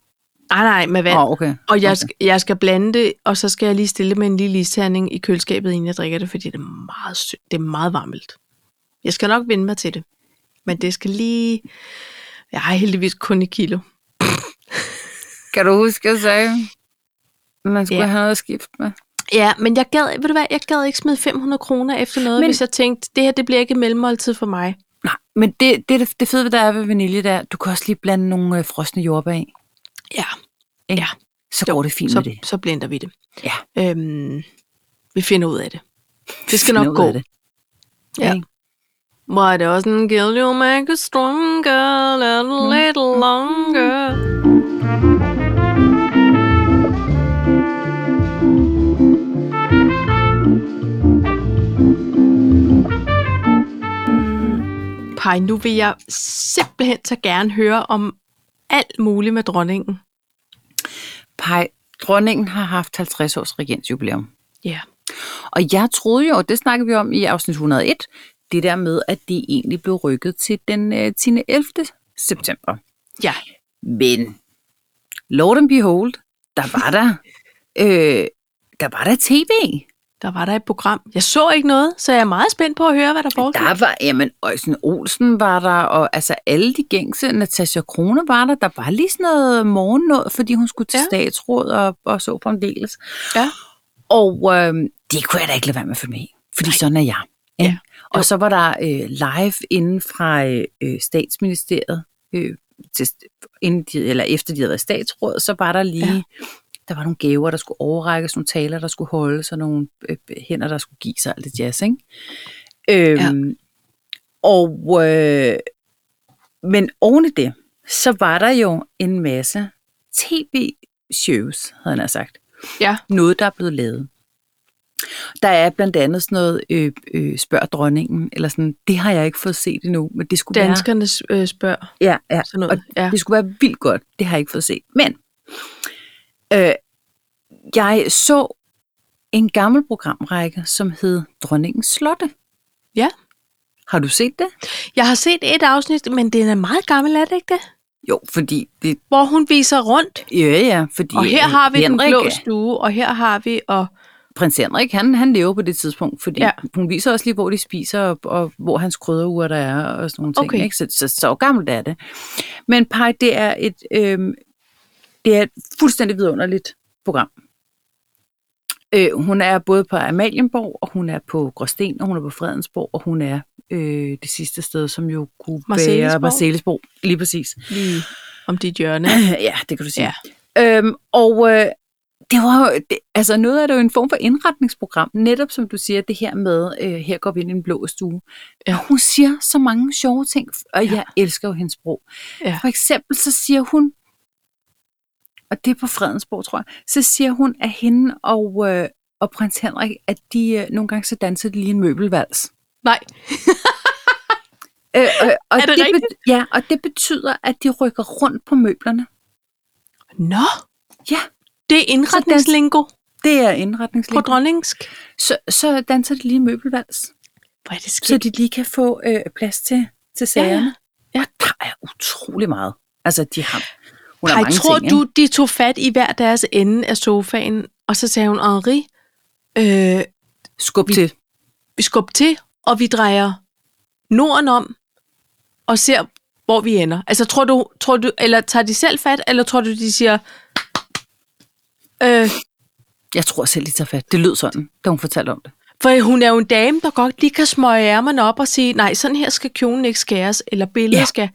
Speaker 1: Ah, nej, med vand.
Speaker 2: Åh, okay.
Speaker 1: Og jeg,
Speaker 2: okay.
Speaker 1: okay. jeg skal blande det, og så skal jeg lige stille det med en lille isterning i køleskabet, inden jeg drikker det, fordi det er meget sødt. Det er meget varmt. Jeg skal nok vende mig til det. Men det skal lige... Jeg har heldigvis kun et kilo.
Speaker 2: Kan du huske, jeg sagde, at man skulle
Speaker 1: Ja.
Speaker 2: yeah. have noget at skifte med?
Speaker 1: Ja, men jeg gad, ved du hvad, jeg gad ikke smide 500 kroner efter noget, men...
Speaker 2: Men-
Speaker 1: hvis jeg tænkte, det her det bliver ikke et mellemmåltid for mig.
Speaker 2: Nej, men det, det, det fede, der er ved vanilje, der du kan også lige blande nogle øh, frosne jordbær i.
Speaker 1: Ja,
Speaker 2: Ikke?
Speaker 1: Ja.
Speaker 2: Så går det fint med
Speaker 1: så,
Speaker 2: det.
Speaker 1: så blender vi det.
Speaker 2: Ja.
Speaker 1: Øhm, vi finder ud af det. Det skal
Speaker 2: Finder
Speaker 1: nok
Speaker 2: ud af
Speaker 1: gå.
Speaker 2: det.
Speaker 1: Ja.
Speaker 2: Ikke?
Speaker 1: Why doesn't kill you make you stronger, little, little longer? Pej, nu vil jeg simpelthen så gerne høre om alt muligt med dronningen.
Speaker 2: Pej, dronningen har haft 50 års regentjubilæum.
Speaker 1: Ja.
Speaker 2: Og jeg troede jo, og det snakkede vi om i afsnit 101, det der med, at det egentlig blev rykket til den øh, 10. 11. september.
Speaker 1: Ja.
Speaker 2: Men, lord and behold, der var der, øh, der var der tv.
Speaker 1: Der var der et program. Jeg så ikke noget, så jeg er meget spændt på at høre, hvad der foregik.
Speaker 2: Der var, jamen, Øjsen Olsen var der, og altså alle de gængse, Natasha Krone var der, der var lige sådan noget morgennåd, fordi hun skulle til
Speaker 1: Ja.
Speaker 2: ja. statsråd og, og så fremdeles.
Speaker 1: Ja.
Speaker 2: Og øh, det kunne jeg da ikke lade være med at følge med i, fordi Nej. sådan er jeg.
Speaker 1: Ja.
Speaker 2: ikke? Og så var der øh, live inden fra øh, øh, statsministeriet, øh, til, inden de, eller efter de havde været statsråd, så var der lige,
Speaker 1: Ja.
Speaker 2: ja. der var nogle gaver, der skulle overrækkes, nogle taler, der skulle holdes, og nogle øh, hænder, der skulle gives og alt det jazz, ikke? Øhm, ja. Og, øh, men oven i det, så var der jo en masse tv-shows, havde han sagt.
Speaker 1: Ja.
Speaker 2: Noget, der er blevet lavet. Der er blandt andet sådan noget, øh, øh, spørg dronningen, eller sådan, det har jeg ikke fået set endnu, men det skulle
Speaker 1: Danskerne øh, spørger
Speaker 2: være... Ja, ja.
Speaker 1: sådan noget. Ja.
Speaker 2: Ja. Det skulle være vildt godt. Det har jeg ikke fået set. Men øh, jeg så en gammel programrække, som hed Dronningens Slotte.
Speaker 1: Ja.
Speaker 2: Har du set det?
Speaker 1: Jeg har set et afsnit, men den er meget gammel, er det ikke det?
Speaker 2: Jo, fordi det...
Speaker 1: Hvor hun viser rundt.
Speaker 2: Ja, ja, fordi...
Speaker 1: Og her har vi den
Speaker 2: Henrik,
Speaker 1: blå stue, og her har vi... Og,
Speaker 2: Prins Henrik, han, han lever på det tidspunkt, fordi
Speaker 1: Ja.
Speaker 2: ja. hun viser også lige, hvor de spiser, og, og hvor hans krydderure der er, og sådan nogle ting.
Speaker 1: Okay.
Speaker 2: Ikke? Så, så, så gammelt er det. Men Pej, det er et... Øh, det er et fuldstændig vidunderligt program. Øh, hun er både på Amalienborg, og hun er på Gråsten, og hun er på Fredensborg, og hun er øh, det sidste sted, som jo kunne være
Speaker 1: Marselisborg.
Speaker 2: Marcelisborg. Lige præcis.
Speaker 1: lige om dit hjørne.
Speaker 2: ja, det kan du sige. Ja. Øhm, og øh, det var jo- det, altså noget af det er jo en form for indretningsprogram, netop som du siger, det her med, øh, her går vi ind i en blå stue.
Speaker 1: Ja.
Speaker 2: Ja. Hun siger så mange sjove ting, og ja. jeg elsker jo hendes sprog.
Speaker 1: Ja.
Speaker 2: For eksempel så siger hun, og det er på Fredensborg, tror jeg, så siger hun, at hende og, øh, og prins Henrik, at de øh, nogle gange så danser de lige en møbelvals.
Speaker 1: Nej,
Speaker 2: Øh, øh, og
Speaker 1: Er det
Speaker 2: det bet- ja, og det betyder, at de rykker rundt på møblerne.
Speaker 1: nå,
Speaker 2: Ja,
Speaker 1: det er indretningslingo
Speaker 2: det er
Speaker 1: på
Speaker 2: indretningslinjen.
Speaker 1: dronningsk.
Speaker 2: så, så danser de lige møbelvals,
Speaker 1: Hvor er det
Speaker 2: så
Speaker 1: skidt?
Speaker 2: de lige kan få øh, plads til, til sagerne. Ja, ja. Der er utrolig meget. Altså, de har, hun har
Speaker 1: Ej,
Speaker 2: mange
Speaker 1: tror
Speaker 2: ting,
Speaker 1: du,
Speaker 2: ikke?
Speaker 1: de tog fat i hver deres ende af sofaen, og så sagde hun, Henri, øh,
Speaker 2: Skub
Speaker 1: vi-
Speaker 2: til.
Speaker 1: vi skubber til, og vi drejer Norden om, og ser, hvor vi ender. Altså, tror du, tror du eller tager de selv fat, eller tror du, de siger, øh,
Speaker 2: Jeg tror selv, de tager fat. Det lød sådan, da hun fortalte om det.
Speaker 1: For hun er jo en dame, der godt lige kan smøge ærmerne op og sige, nej, sådan her skal kjolen ikke skæres, eller billedet ja.
Speaker 2: Ja.
Speaker 1: skal...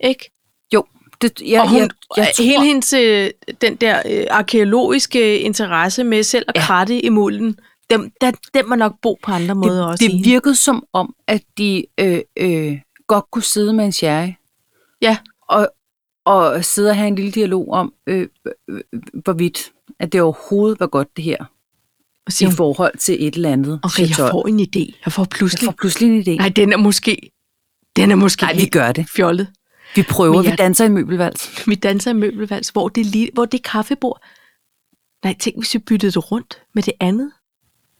Speaker 1: Ikke?
Speaker 2: Jo, det, jeg,
Speaker 1: Og hun,
Speaker 2: jeg, jeg, tror,
Speaker 1: hele hendes, øh, den der øh, arkeologiske interesse med selv at ja.
Speaker 2: Ja.
Speaker 1: kratte i mulden, den, den, den må nok bo på andre måder
Speaker 2: det,
Speaker 1: også. i
Speaker 2: det
Speaker 1: hende.
Speaker 2: virkede som om, at de øh, øh, godt kunne sidde med en sherry
Speaker 1: Ja,
Speaker 2: og, og sidde og have en lille dialog om, øh, øh, hvorvidt at det overhovedet var godt, det her,
Speaker 1: og siger
Speaker 2: i
Speaker 1: hun,
Speaker 2: forhold til et eller andet.
Speaker 1: okay, jeg
Speaker 2: chatol."
Speaker 1: får en idé. Jeg får
Speaker 2: Jeg
Speaker 1: pludselig...
Speaker 2: får pludselig en idé.
Speaker 1: Nej, den er måske... Den er måske
Speaker 2: Nej, vi gør det.
Speaker 1: fjollet.
Speaker 2: Vi prøver,
Speaker 1: Men
Speaker 2: jeg...
Speaker 1: jeg-
Speaker 2: vi danser i møbelvals.
Speaker 1: Vi danser i møbelvals, hvor det, lige, hvor det kaffebord. Nej, tænk, hvis vi byttede det rundt med det andet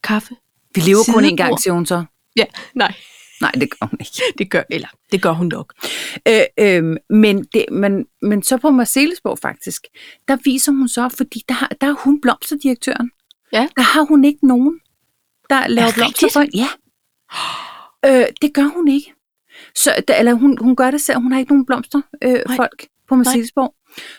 Speaker 1: kaffe.
Speaker 2: Vi lever kun en
Speaker 1: Sidebord.
Speaker 2: gang, siger hun så.
Speaker 1: Ja, nej,
Speaker 2: Nej, det gør hun ikke.
Speaker 1: det gør, eller, det gør hun nok.
Speaker 2: Øh, øh, men, det, men, men så på Marcellesborg faktisk, der viser hun så, fordi der, har- der er hun blomsterdirektøren.
Speaker 1: Ja.
Speaker 2: Der har hun ikke nogen, der laver
Speaker 1: det
Speaker 2: blomster for hende. Ja. Øh, det gør hun ikke. Så, der, eller hun, hun gør det selv, hun har ikke nogen blomsterfolk øh,
Speaker 1: Nej.
Speaker 2: folk på Marcellesborg.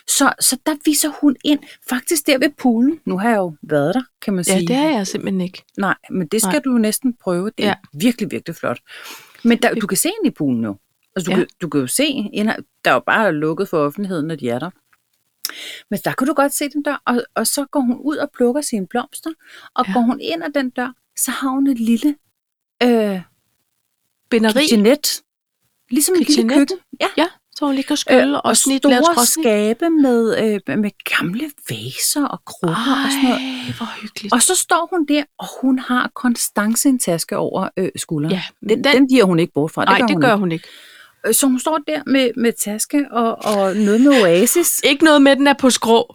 Speaker 2: Så, så der viser hun ind, faktisk der ved poolen. Nu har jeg jo været der, kan man
Speaker 1: Ja,
Speaker 2: sige.
Speaker 1: det er jeg simpelthen ikke.
Speaker 2: Nej, men det skal
Speaker 1: Nej.
Speaker 2: Nej. du jo næsten prøve. Det er
Speaker 1: Ja.
Speaker 2: ja. virkelig, virkelig flot. Men der, du kan se ind i poolen nu. Altså, du,
Speaker 1: Ja.
Speaker 2: ja. kan, du kan jo se, indha- der er jo bare lukket for offentligheden, når de er der. Men der kan du godt se den dør, og, og så går hun ud og plukker sine blomster, og
Speaker 1: Ja.
Speaker 2: ja. går hun ind ad den dør, så har hun et lille øh,
Speaker 1: Binderi,
Speaker 2: kitchenette. Ligesom et lille
Speaker 1: Kitchenette?
Speaker 2: køkken. Ja.
Speaker 1: ja, så hun ligger og skyller øh, og, snit, laver
Speaker 2: store
Speaker 1: skråsnit.
Speaker 2: skabe med, øh, med gamle vaser og krukker og sådan noget.
Speaker 1: Ej, hvor hyggeligt.
Speaker 2: Og så står hun der, og hun har Konstance en taske over øh, skulderen.
Speaker 1: Ja,
Speaker 2: den,
Speaker 1: den-
Speaker 2: den, den giver hun ikke bort fra.
Speaker 1: Nej, det
Speaker 2: hun
Speaker 1: gør hun ikke.
Speaker 2: Ikke. Øh, Så hun står der med, med taske og, og noget med oasis.
Speaker 1: Ikke noget med, at den er på skrå.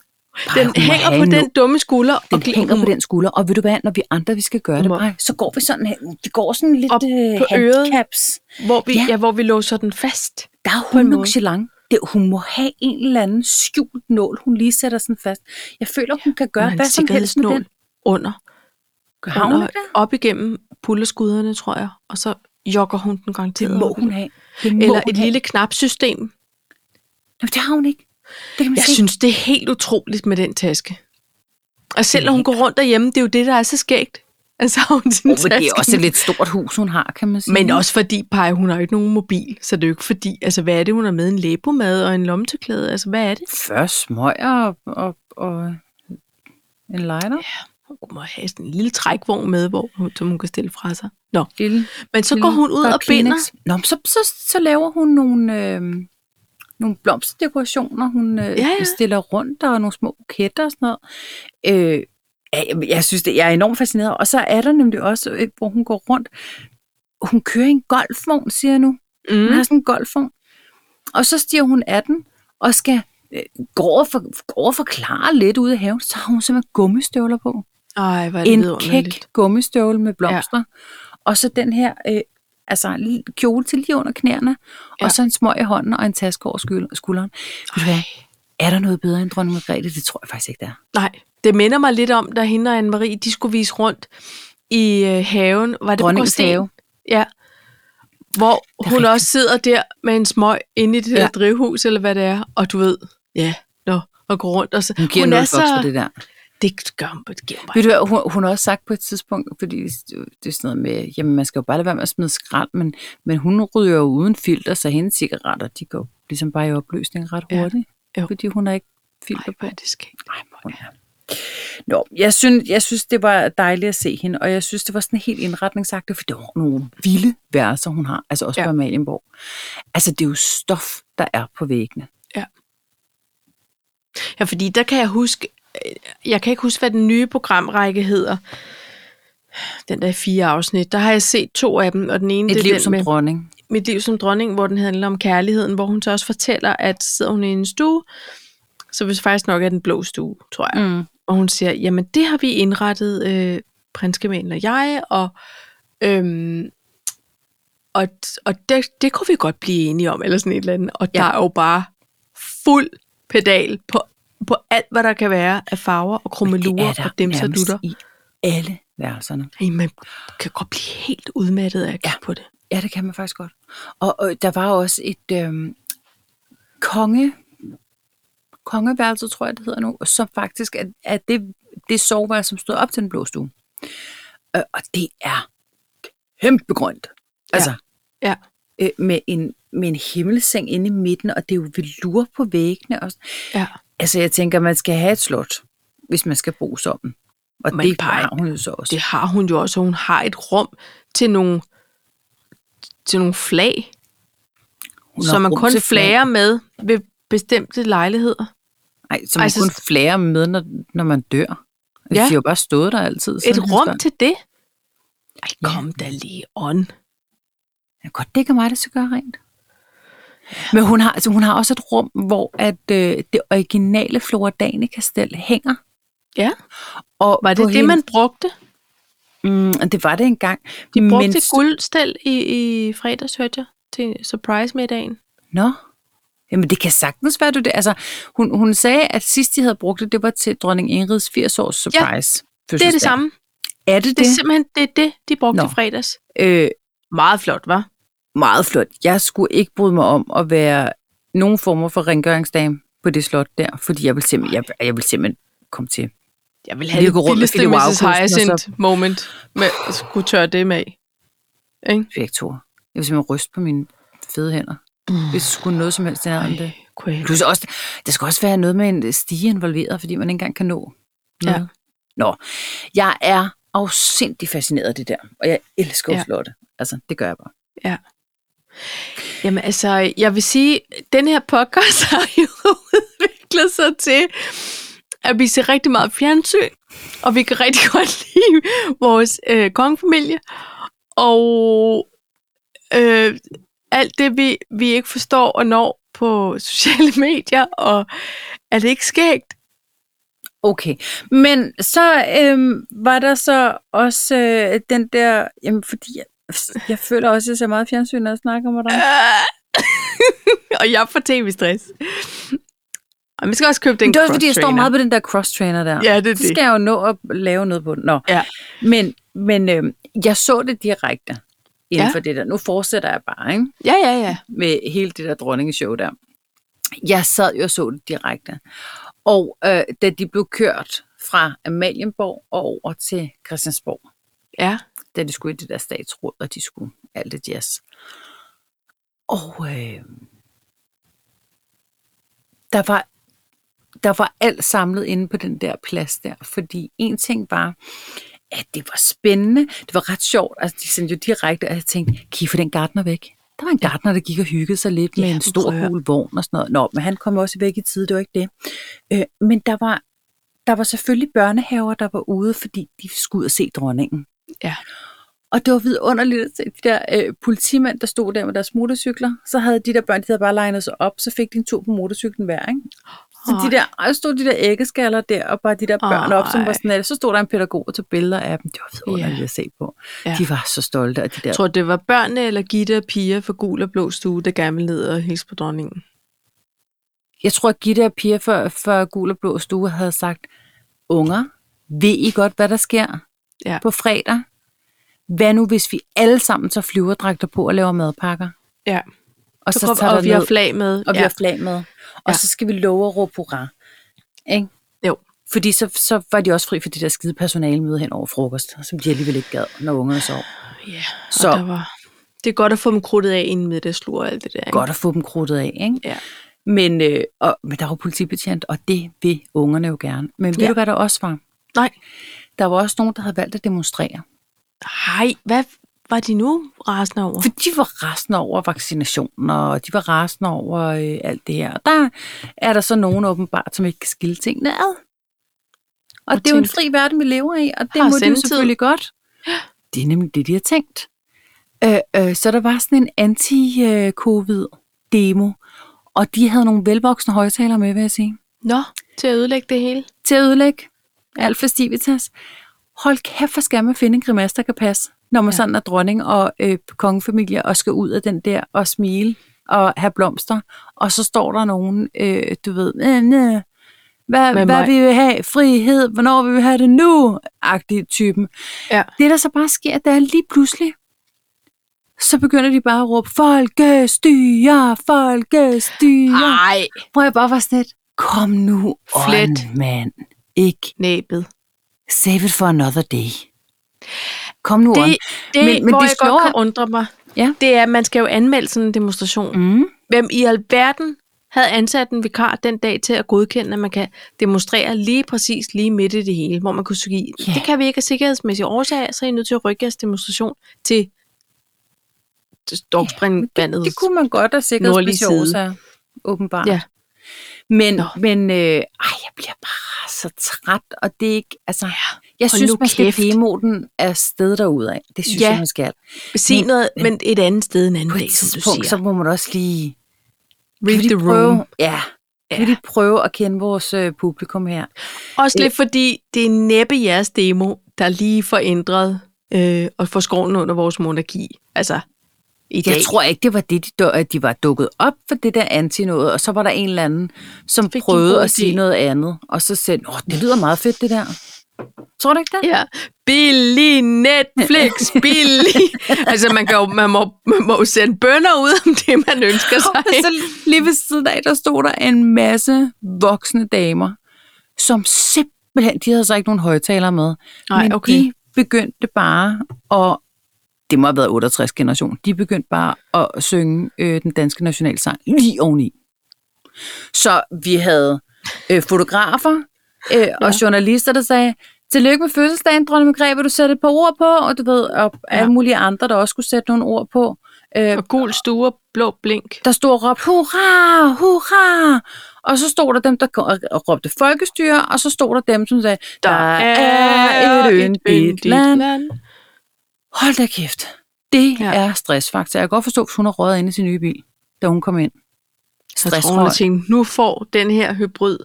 Speaker 1: Den
Speaker 2: hun må
Speaker 1: hænger
Speaker 2: have
Speaker 1: på
Speaker 2: en
Speaker 1: den
Speaker 2: nu.
Speaker 1: dumme skulder.
Speaker 2: Den
Speaker 1: og gl-
Speaker 2: hænger på den skulder, og ved du hvad, når vi andre vi skal gøre det,
Speaker 1: Må-
Speaker 2: Brej, så går vi sådan her. Vi går sådan lidt
Speaker 1: Op
Speaker 2: øh,
Speaker 1: på øret.
Speaker 2: handicaps.
Speaker 1: Hvor vi, ja.
Speaker 2: Ja.
Speaker 1: ja, hvor vi låser den fast.
Speaker 2: Der
Speaker 1: På
Speaker 2: er
Speaker 1: en
Speaker 2: hun
Speaker 1: måde.
Speaker 2: nonchalant. Det, hun må have en eller anden skjult nål, hun lige sætter sådan fast. Jeg føler, hun kan gøre
Speaker 1: Hun har en
Speaker 2: hvad som helst med den.
Speaker 1: sikkerhedsnål under.
Speaker 2: Har hun
Speaker 1: under
Speaker 2: ikke det?
Speaker 1: op igennem pullerskuderne, tror jeg. Og så jogger hun den garanteret.
Speaker 2: Det må
Speaker 1: op.
Speaker 2: hun have. Det må
Speaker 1: Eller
Speaker 2: hun
Speaker 1: et
Speaker 2: have.
Speaker 1: lille knapsystem.
Speaker 2: Jamen, det har hun ikke. Det kan man
Speaker 1: Jeg
Speaker 2: se.
Speaker 1: synes, det er helt utroligt med den taske. Og selvom hun går rundt derhjemme, det er jo det, der er så skægt. Altså, har hun sin
Speaker 2: Oh, men det er
Speaker 1: taske
Speaker 2: også et lidt stort hus, hun har, kan man sige.
Speaker 1: Men også fordi, Paj, hun har jo ikke nogen mobil, så det er jo ikke fordi, altså hvad er det, hun har med en læbomad og en lommetørklæde, altså hvad er det?
Speaker 2: Først smøger og, og, og en lighter. Ja.
Speaker 1: Hun må have sådan en lille trækvogn med, hvor, hun- som hun kan stille fra sig. Nå,
Speaker 2: Lille,
Speaker 1: men så går hun ud og binder.
Speaker 2: Nå, men så, så, så laver hun nogle, øh, nogle blomsterdekorationer, hun øh,
Speaker 1: Ja,
Speaker 2: ja,
Speaker 1: ja.
Speaker 2: ja. stiller rundt, og nogle små buketter og sådan noget. Øh, ja, jeg, jeg synes, det, jeg er enormt fascineret. Og så er der nemlig også, øh, hvor hun går rundt. Hun kører i en golfvogn, siger jeg nu. Hun
Speaker 1: Mm.
Speaker 2: har sådan en golfvogn. Og så stiger hun af den, og skal øh, gå, over for, gå over og forklare lidt ude i haven. Så har hun simpelthen gummistøvler på.
Speaker 1: Ej, hvor er det
Speaker 2: En
Speaker 1: vidunderligt.
Speaker 2: kæk gummistøvle med blomster. Og så den her øh, altså, li- kjole til lige under knæerne.
Speaker 1: Ja.
Speaker 2: Og så en smøg i hånden og en taske over skul- skulderen. Ved du hvad? Er der noget bedre end dronning Margrethe? Det tror jeg faktisk ikke, der er.
Speaker 1: Nej, det minder mig lidt om, da hende og Anne-Marie, de skulle vise rundt i øh, haven. Var det på
Speaker 2: Dronningens
Speaker 1: Gråsten?
Speaker 2: have.
Speaker 1: Ja. Hvor
Speaker 2: er
Speaker 1: hun
Speaker 2: rigtigt.
Speaker 1: også sidder der med en smøg inde i det der ja.
Speaker 2: Ja.
Speaker 1: drivhus, eller hvad det er, og du ved, ja, nå, og går rundt. Og så,
Speaker 2: Hun giver
Speaker 1: hun
Speaker 2: noget
Speaker 1: er
Speaker 2: så... for
Speaker 1: så,
Speaker 2: det der.
Speaker 1: Det gør hun, det giver hun bare.
Speaker 2: Ved du hvad, hun, hun har også sagt på et tidspunkt, fordi det er sådan noget med, jamen man skal jo bare lade være med at smide skrald, men, men hun ryger jo uden filter, så hendes cigaretter, de går ligesom bare i opløsning ret
Speaker 1: Ja.
Speaker 2: hurtigt,
Speaker 1: Jo.
Speaker 2: ja. fordi hun har ikke filter
Speaker 1: Ej,
Speaker 2: på.
Speaker 1: hvor er det skægt.
Speaker 2: Ej, hvor er det- Nå, jeg synes, jeg synes, det var dejligt at se hende, og jeg synes, det var sådan helt indretningsagtigt, for det var nogle vilde værelser, hun har, altså også
Speaker 1: Ja.
Speaker 2: ja. på Amalienborg. Altså, det er jo stof, der er på væggene.
Speaker 1: Ja, fordi der kan jeg huske, øh, jeg kan ikke huske, hvad den nye programrække hedder. Den der i fire afsnit. Der har jeg set to af dem, og den ene
Speaker 2: Et
Speaker 1: det er
Speaker 2: liv
Speaker 1: den
Speaker 2: som
Speaker 1: med
Speaker 2: dronning.
Speaker 1: Mit liv som dronning, hvor den handler om kærligheden, hvor hun så også fortæller, at sidder hun i en stue, så hvis faktisk nok er den blå stue, tror jeg.
Speaker 2: Mm.
Speaker 1: Og hun siger, jamen det har vi indrettet, øh, prinskemalen og jeg, og, øhm, og, og det, det kunne vi godt blive enige om, eller sådan et eller andet. Og ja.
Speaker 2: Ja.
Speaker 1: der er jo bare fuld pedal på, på alt, hvad der kan være af farver og krummelurer
Speaker 2: der
Speaker 1: og dem, så
Speaker 2: nærmest
Speaker 1: dutter.
Speaker 2: i alle værelserne.
Speaker 1: Ej, man kan godt blive helt udmattet af at kigge ja. på det.
Speaker 2: Ja, det kan man faktisk godt. Og, og der var også et øhm, konge, kongeværelse, tror jeg, det hedder nu, som faktisk er, er det, det soveværelse, som stod op til den blå stue. Øh, og det er kæmpe grønt. Altså,
Speaker 1: Ja.
Speaker 2: øh, med, en, med en himmelseng inde i midten, og det er jo velur på væggene. Og,
Speaker 1: Ja.
Speaker 2: altså, jeg tænker, man skal have et slot, hvis man skal bo sådan. Og
Speaker 1: Men
Speaker 2: det
Speaker 1: bare-
Speaker 2: har hun jo så også.
Speaker 1: det har hun jo også, og hun har et rum til nogle, til nogle flag,
Speaker 2: Hun har
Speaker 1: som man
Speaker 2: rum
Speaker 1: kun
Speaker 2: til flag.
Speaker 1: flager med ved bestemte lejligheder.
Speaker 2: Nej, som altså,
Speaker 1: Altså-
Speaker 2: kun flærer med, når, når man dør. Ja. De
Speaker 1: Ja.
Speaker 2: har jo bare stået der altid.
Speaker 1: Et
Speaker 2: siden
Speaker 1: rum
Speaker 2: han
Speaker 1: til det? Ej,
Speaker 2: Ja.
Speaker 1: kom da lige on.
Speaker 2: Ja, godt, det kan mig, der skal gøre rent. Men hun har, altså, hun har også et rum, hvor at, øh, det originale Flora Danica-stel hænger.
Speaker 1: Ja.
Speaker 2: Og
Speaker 1: Var det
Speaker 2: på
Speaker 1: det,
Speaker 2: hende-
Speaker 1: man brugte?
Speaker 2: Mm, det var det engang.
Speaker 1: De brugte
Speaker 2: men,
Speaker 1: Men... guldstel i, i fredags, hørte jeg, til surprise-middagen.
Speaker 2: Nå. Jamen, det kan sagtens være, du det. Altså, hun, hun sagde, at sidst de havde brugt det, det var til dronning Ingrids 80-års surprise. Ja,
Speaker 1: Det er det samme.
Speaker 2: Er det det?
Speaker 1: Det er simpelthen det, er det de brugte
Speaker 2: Nå.
Speaker 1: Nå. i fredags.
Speaker 2: øh,
Speaker 1: Meget flot, var.
Speaker 2: meget flot. Jeg skulle ikke bryde mig om at være nogen former for rengøringsdame på det slot der, fordi jeg vil simpelthen, jeg, jeg vil simpelthen komme til.
Speaker 1: Jeg vil
Speaker 2: Lige
Speaker 1: have
Speaker 2: gå
Speaker 1: det
Speaker 2: rundt med
Speaker 1: vildeste
Speaker 2: Philip
Speaker 1: Mrs.
Speaker 2: Augusten, og så-
Speaker 1: Hyacinth moment med at skulle tørre det med. af. Ikke?
Speaker 2: Vektor. Jeg vil simpelthen ryste på mine fede hænder, hvis det skulle noget som helst er om Mm. det.
Speaker 1: kunne jeg-
Speaker 2: Plus også, der skal også være noget med en stige involveret, fordi man ikke engang kan nå. noget.
Speaker 1: Ja.
Speaker 2: Nå, jeg er afsindig fascineret af det der, og jeg elsker ja.
Speaker 1: Ja.
Speaker 2: flotte. Altså, det gør jeg bare.
Speaker 1: Jamen altså, jeg vil sige, den her podcast har jo udviklet sig til, at vi ser rigtig meget fjernsyn, og vi kan rigtig godt lide vores øh, kongefamilie, og øh, alt det, vi, vi ikke forstår og når på sociale medier, og er det ikke skægt?
Speaker 2: Okay, men så øhm, var der så også øh, den der, jamen fordi jeg, jeg føler også, at jeg ser meget fjernsyn, når jeg snakker med dig.
Speaker 1: Øh. og jeg får tv-stress. Og vi skal også købe den
Speaker 2: Men det er også fordi, jeg står
Speaker 1: cross-trainer.
Speaker 2: meget på den der cross-trainer der.
Speaker 1: Ja, det er
Speaker 2: så
Speaker 1: det.
Speaker 2: skal jeg jo nå at lave noget på den. Nå.
Speaker 1: Ja.
Speaker 2: Men, men øhm, jeg så det direkte inden
Speaker 1: Ja.
Speaker 2: for det der. Nu fortsætter jeg bare, ikke?
Speaker 1: Ja, ja, ja.
Speaker 2: med hele det der dronningeshow der. Jeg sad jo og så det direkte. Og øh, da de blev kørt fra Amalienborg og over til Christiansborg,
Speaker 1: Ja,
Speaker 2: da de skulle i det der statsråd, og de skulle alt det jazz. Og øh, der var der var alt samlet inde på den der plads der, fordi en ting var, at det var spændende, det var ret sjovt, altså de sendte jo direkte, og jeg tænkte, kan I få den gardner væk? Der var en gardner, der gik og hyggede sig lidt med
Speaker 1: Ja,
Speaker 2: en
Speaker 1: men prøv at
Speaker 2: stor
Speaker 1: høre.
Speaker 2: gul vogn og sådan noget. Nå, men han kom også væk i tide, det var ikke det. Øh, men der var, der var selvfølgelig børnehaver, der var ude, fordi de skulle ud og se dronningen.
Speaker 1: Ja.
Speaker 2: Og det var vidunderligt at se de der øh, politimænd, der stod der med deres motorcykler. Så havde de der børn, de havde bare legnet sig op, så fik de en tur på motorcyklen hver, ikke? Så de der, og så stod de der æggeskaller der, og bare de der børn op, som var
Speaker 1: Ej.
Speaker 2: sådan, at så stod der en pædagog og tog billeder af dem. Det var vidunderligt
Speaker 1: Ja.
Speaker 2: at se på.
Speaker 1: Ja.
Speaker 2: De var så stolte af de der.
Speaker 1: Jeg tror, det var børnene eller Gitte og Pia fra Gul og Blå Stue, der gerne ville ned og hilse på dronningen.
Speaker 2: Jeg tror, at Gitte og Pia for, for Gul og Blå Stue havde sagt, unger, ved I godt, hvad der sker
Speaker 1: Ja.
Speaker 2: på fredag? Hvad nu, hvis vi alle sammen tager flyverdragter på og laver madpakker?
Speaker 1: Ja.
Speaker 2: Og
Speaker 1: Så,
Speaker 2: så,
Speaker 1: så kom,
Speaker 2: tager
Speaker 1: og vi
Speaker 2: vi
Speaker 1: har
Speaker 2: ned,
Speaker 1: flag med.
Speaker 2: og vi
Speaker 1: ja.
Speaker 2: har flag med. Og
Speaker 1: Ja.
Speaker 2: så skal vi love at råbe hurra. Ikke?
Speaker 1: Jo.
Speaker 2: Fordi så, så var de også fri for det der skide personalemøde hen over frokost, som de alligevel ikke gad, når ungerne sov.
Speaker 1: Ja, og
Speaker 2: Så-
Speaker 1: Der var... Det er godt at få dem krudtet af inden middagslur og alt det der. Ikke?
Speaker 2: Godt at få dem krudtet af, ikke?
Speaker 1: Ja.
Speaker 2: Men, øh, og, men der var politibetjent, og det vil ungerne jo gerne. Men ved
Speaker 1: Ja.
Speaker 2: du, hvad der også var?
Speaker 1: Nej.
Speaker 2: Der var også nogen, der havde valgt at demonstrere.
Speaker 1: Hej, hvad var de nu rasende over?
Speaker 2: For de var rasende over vaccinationer, og de var rasende over øh, alt det her. Og der er der så nogen åbenbart, som ikke kan skille tingene ad. Og, og det er jo en
Speaker 1: tænkte,
Speaker 2: fri verden, vi lever i, og det
Speaker 1: har
Speaker 2: må de jo
Speaker 1: sendetid.
Speaker 2: selvfølgelig godt. Det er nemlig det, de har tænkt. Øh, øh, så der var sådan en anti-covid-demo, og de havde nogle velvoksne højtalere med, vil jeg sige
Speaker 1: Nå, til at ødelægge det hele.
Speaker 2: til at ødelægge alt festivitas. Hold kæft, hvor skal man finde en grimasse, der kan passe, når man ja.
Speaker 1: Ja.
Speaker 2: sådan er dronning og øh, kongefamilie og skal ud af den der og smile og have blomster. Og så står der nogen, øh, du ved, øh, næh, hvad,
Speaker 1: Med
Speaker 2: hvad
Speaker 1: mig.
Speaker 2: vi vil have, frihed, hvornår vil vi have det nu, agtig typen.
Speaker 1: Ja.
Speaker 2: Det, der så bare sker, det er lige pludselig, så begynder de bare at råbe, folkestyre, folkestyre. Ah.
Speaker 1: Nej,
Speaker 2: Hvor jeg bare var sådan lidt, kom nu
Speaker 1: Flet.
Speaker 2: on, mand. Ikke
Speaker 1: næbet.
Speaker 2: Save it for another day. Kom nu
Speaker 1: Det,
Speaker 2: on.
Speaker 1: det
Speaker 2: Men-
Speaker 1: men,
Speaker 2: men
Speaker 1: men hvor det
Speaker 2: det
Speaker 1: jeg
Speaker 2: slår-
Speaker 1: godt kan undre mig,
Speaker 2: Ja.
Speaker 1: det er, at man skal jo anmelde sådan en demonstration.
Speaker 2: Mm.
Speaker 1: Hvem i alverden havde ansat en vikar den dag til at godkende, at man kan demonstrere lige præcis lige midt i det hele, hvor man kunne sige,
Speaker 2: Ja.
Speaker 1: yeah. det kan vi ikke af sikkerhedsmæssige årsager, så er I nødt til at rykke jeres demonstration til Storkspringvandet.
Speaker 2: Det kunne man godt have sikkerhedsmæssige
Speaker 1: Nordlige side.
Speaker 2: årsager, åbenbart.
Speaker 1: Ja.
Speaker 2: Men,
Speaker 1: Nå.
Speaker 2: men øh, ej, jeg bliver bare så træt, og det er ikke, altså, jeg
Speaker 1: hold
Speaker 2: synes,
Speaker 1: nu
Speaker 2: man skal
Speaker 1: kæft.
Speaker 2: demo den af sted derudad. Det synes
Speaker 1: Ja.
Speaker 2: jeg, man skal.
Speaker 1: Sige noget, men et andet sted en anden
Speaker 2: På
Speaker 1: dag,
Speaker 2: et
Speaker 1: som du
Speaker 2: tidspunkt,
Speaker 1: siger.
Speaker 2: så må man også lige
Speaker 1: Read the
Speaker 2: prøve,
Speaker 1: room.
Speaker 2: Ja. ja. Kan vi lige prøve at kende vores øh, publikum her?
Speaker 1: Også lidt fordi, det er næppe jeres demo, der lige får ændret øh, og får skroven under vores monarki. Altså, i dag.
Speaker 2: Jeg tror ikke, det var det, de, du- at de var dukket op for det der anti noget, og så var der en eller anden, som
Speaker 1: Fik de en
Speaker 2: prøvede
Speaker 1: god
Speaker 2: at sige
Speaker 1: idé.
Speaker 2: noget andet, og så sagde, åh, det lyder meget fedt, det der. Tror du ikke det?
Speaker 1: Ja, billig Netflix, billig. altså, man, kan jo, man, må, man må jo sende bønder ud om det, man ønsker sig.
Speaker 2: Og så lige ved siden af, der stod der en masse voksne damer, som simpelthen, de havde så ikke nogen højtalere med.
Speaker 1: Nej,
Speaker 2: men
Speaker 1: okay.
Speaker 2: de begyndte bare at, det må have været 68 generation, de begyndte bare at synge øh, den danske nationalsang lige oveni. Så vi havde øh, fotografer øh, og journalister, der sagde, tillykke med fødselsdagen, dronning Margrethe, vil du sætte et par ord på? Og du ved, og alle mulige andre, der også skulle sætte nogle ord på. Øh,
Speaker 1: Og gul stue og blå blink.
Speaker 2: der stod og råbte, hurra, hurra! Og så stod der dem, der kom- og råbte folkestyre, og så stod der dem, som sagde, der er et yndigt land. Hold da kæft. Det
Speaker 1: Ja.
Speaker 2: ja. er stressfaktor. Jeg kan godt forstå, hvis hun har røget ind i sin nye bil, da hun kom ind.
Speaker 1: Så tror hun,
Speaker 2: Stressrøg.
Speaker 1: at tænkte, nu får den her hybrid.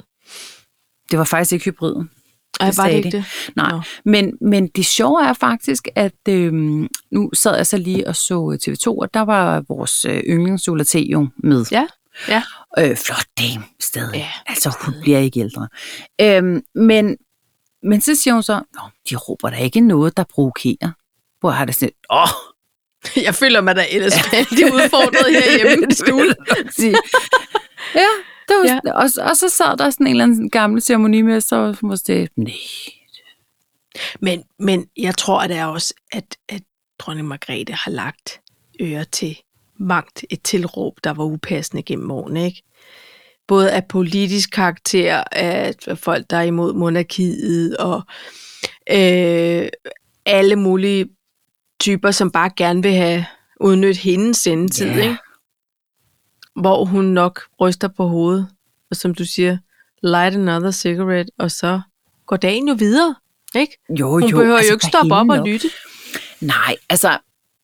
Speaker 2: Det var faktisk ikke hybriden.
Speaker 1: Ej,
Speaker 2: Det
Speaker 1: var det
Speaker 2: sagde
Speaker 1: ikke
Speaker 2: de.
Speaker 1: det?
Speaker 2: Nej,
Speaker 1: Nå.
Speaker 2: men, men det sjove er faktisk, at øhm, nu sad jeg så lige og så øh, TV2, og der var vores øh, yndlings Ulla T. jo med.
Speaker 1: Ja, ja.
Speaker 2: Øh, flot dame stadig.
Speaker 1: Ja,
Speaker 2: Ja, altså, hun bliver ikke ældre. Øhm, men, men så siger hun så, Nå, de råber da ikke noget, der provokerer. Hvor har det sådan, lidt, åh, oh,
Speaker 1: Jeg føler mig da ellers vældig udfordret herhjemme i stuen.
Speaker 2: sige. ja, det var,
Speaker 1: Ja.
Speaker 2: ja. Og, og, så sad der sådan en eller anden gammel ceremonimester, og så måske, nej,
Speaker 1: Men, men jeg tror da også, at, at dronning Margrethe har lagt øre til magt et tilråb, der var upassende gennem årene, ikke? Både af politisk karakter, af folk, der er imod monarkiet, og øh, alle mulige typer, som bare gerne vil have udnyttet hendes sendetid,
Speaker 2: Ja.
Speaker 1: ikke? Hvor hun nok ryster på hovedet, og som du siger, light another cigarette, og så går dagen jo videre, ikke?
Speaker 2: jo,
Speaker 1: Hun
Speaker 2: jo.
Speaker 1: behøver jo
Speaker 2: altså,
Speaker 1: ikke
Speaker 2: for
Speaker 1: stoppe op
Speaker 2: hende
Speaker 1: og
Speaker 2: nok.
Speaker 1: lytte.
Speaker 2: Nej, altså,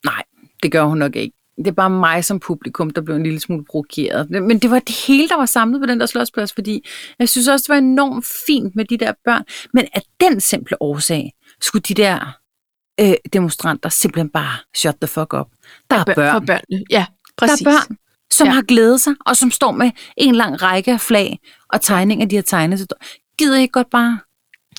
Speaker 2: nej, det gør hun nok ikke. Det er bare mig som publikum, der blev en lille smule provokeret. Men det var det hele, der var samlet på den der slotsplads, fordi jeg synes også, det var enormt fint med de der børn. Men af den simple årsag, skulle de der øh, demonstranter simpelthen bare shut the fuck up. Der er
Speaker 1: Børn. For
Speaker 2: børn,
Speaker 1: børnene. Ja,
Speaker 2: der
Speaker 1: præcis.
Speaker 2: er børn som
Speaker 1: Ja.
Speaker 2: ja. har glædet sig, og som står med en lang række af flag og tegninger, de har tegnet. Så gider I ikke godt bare?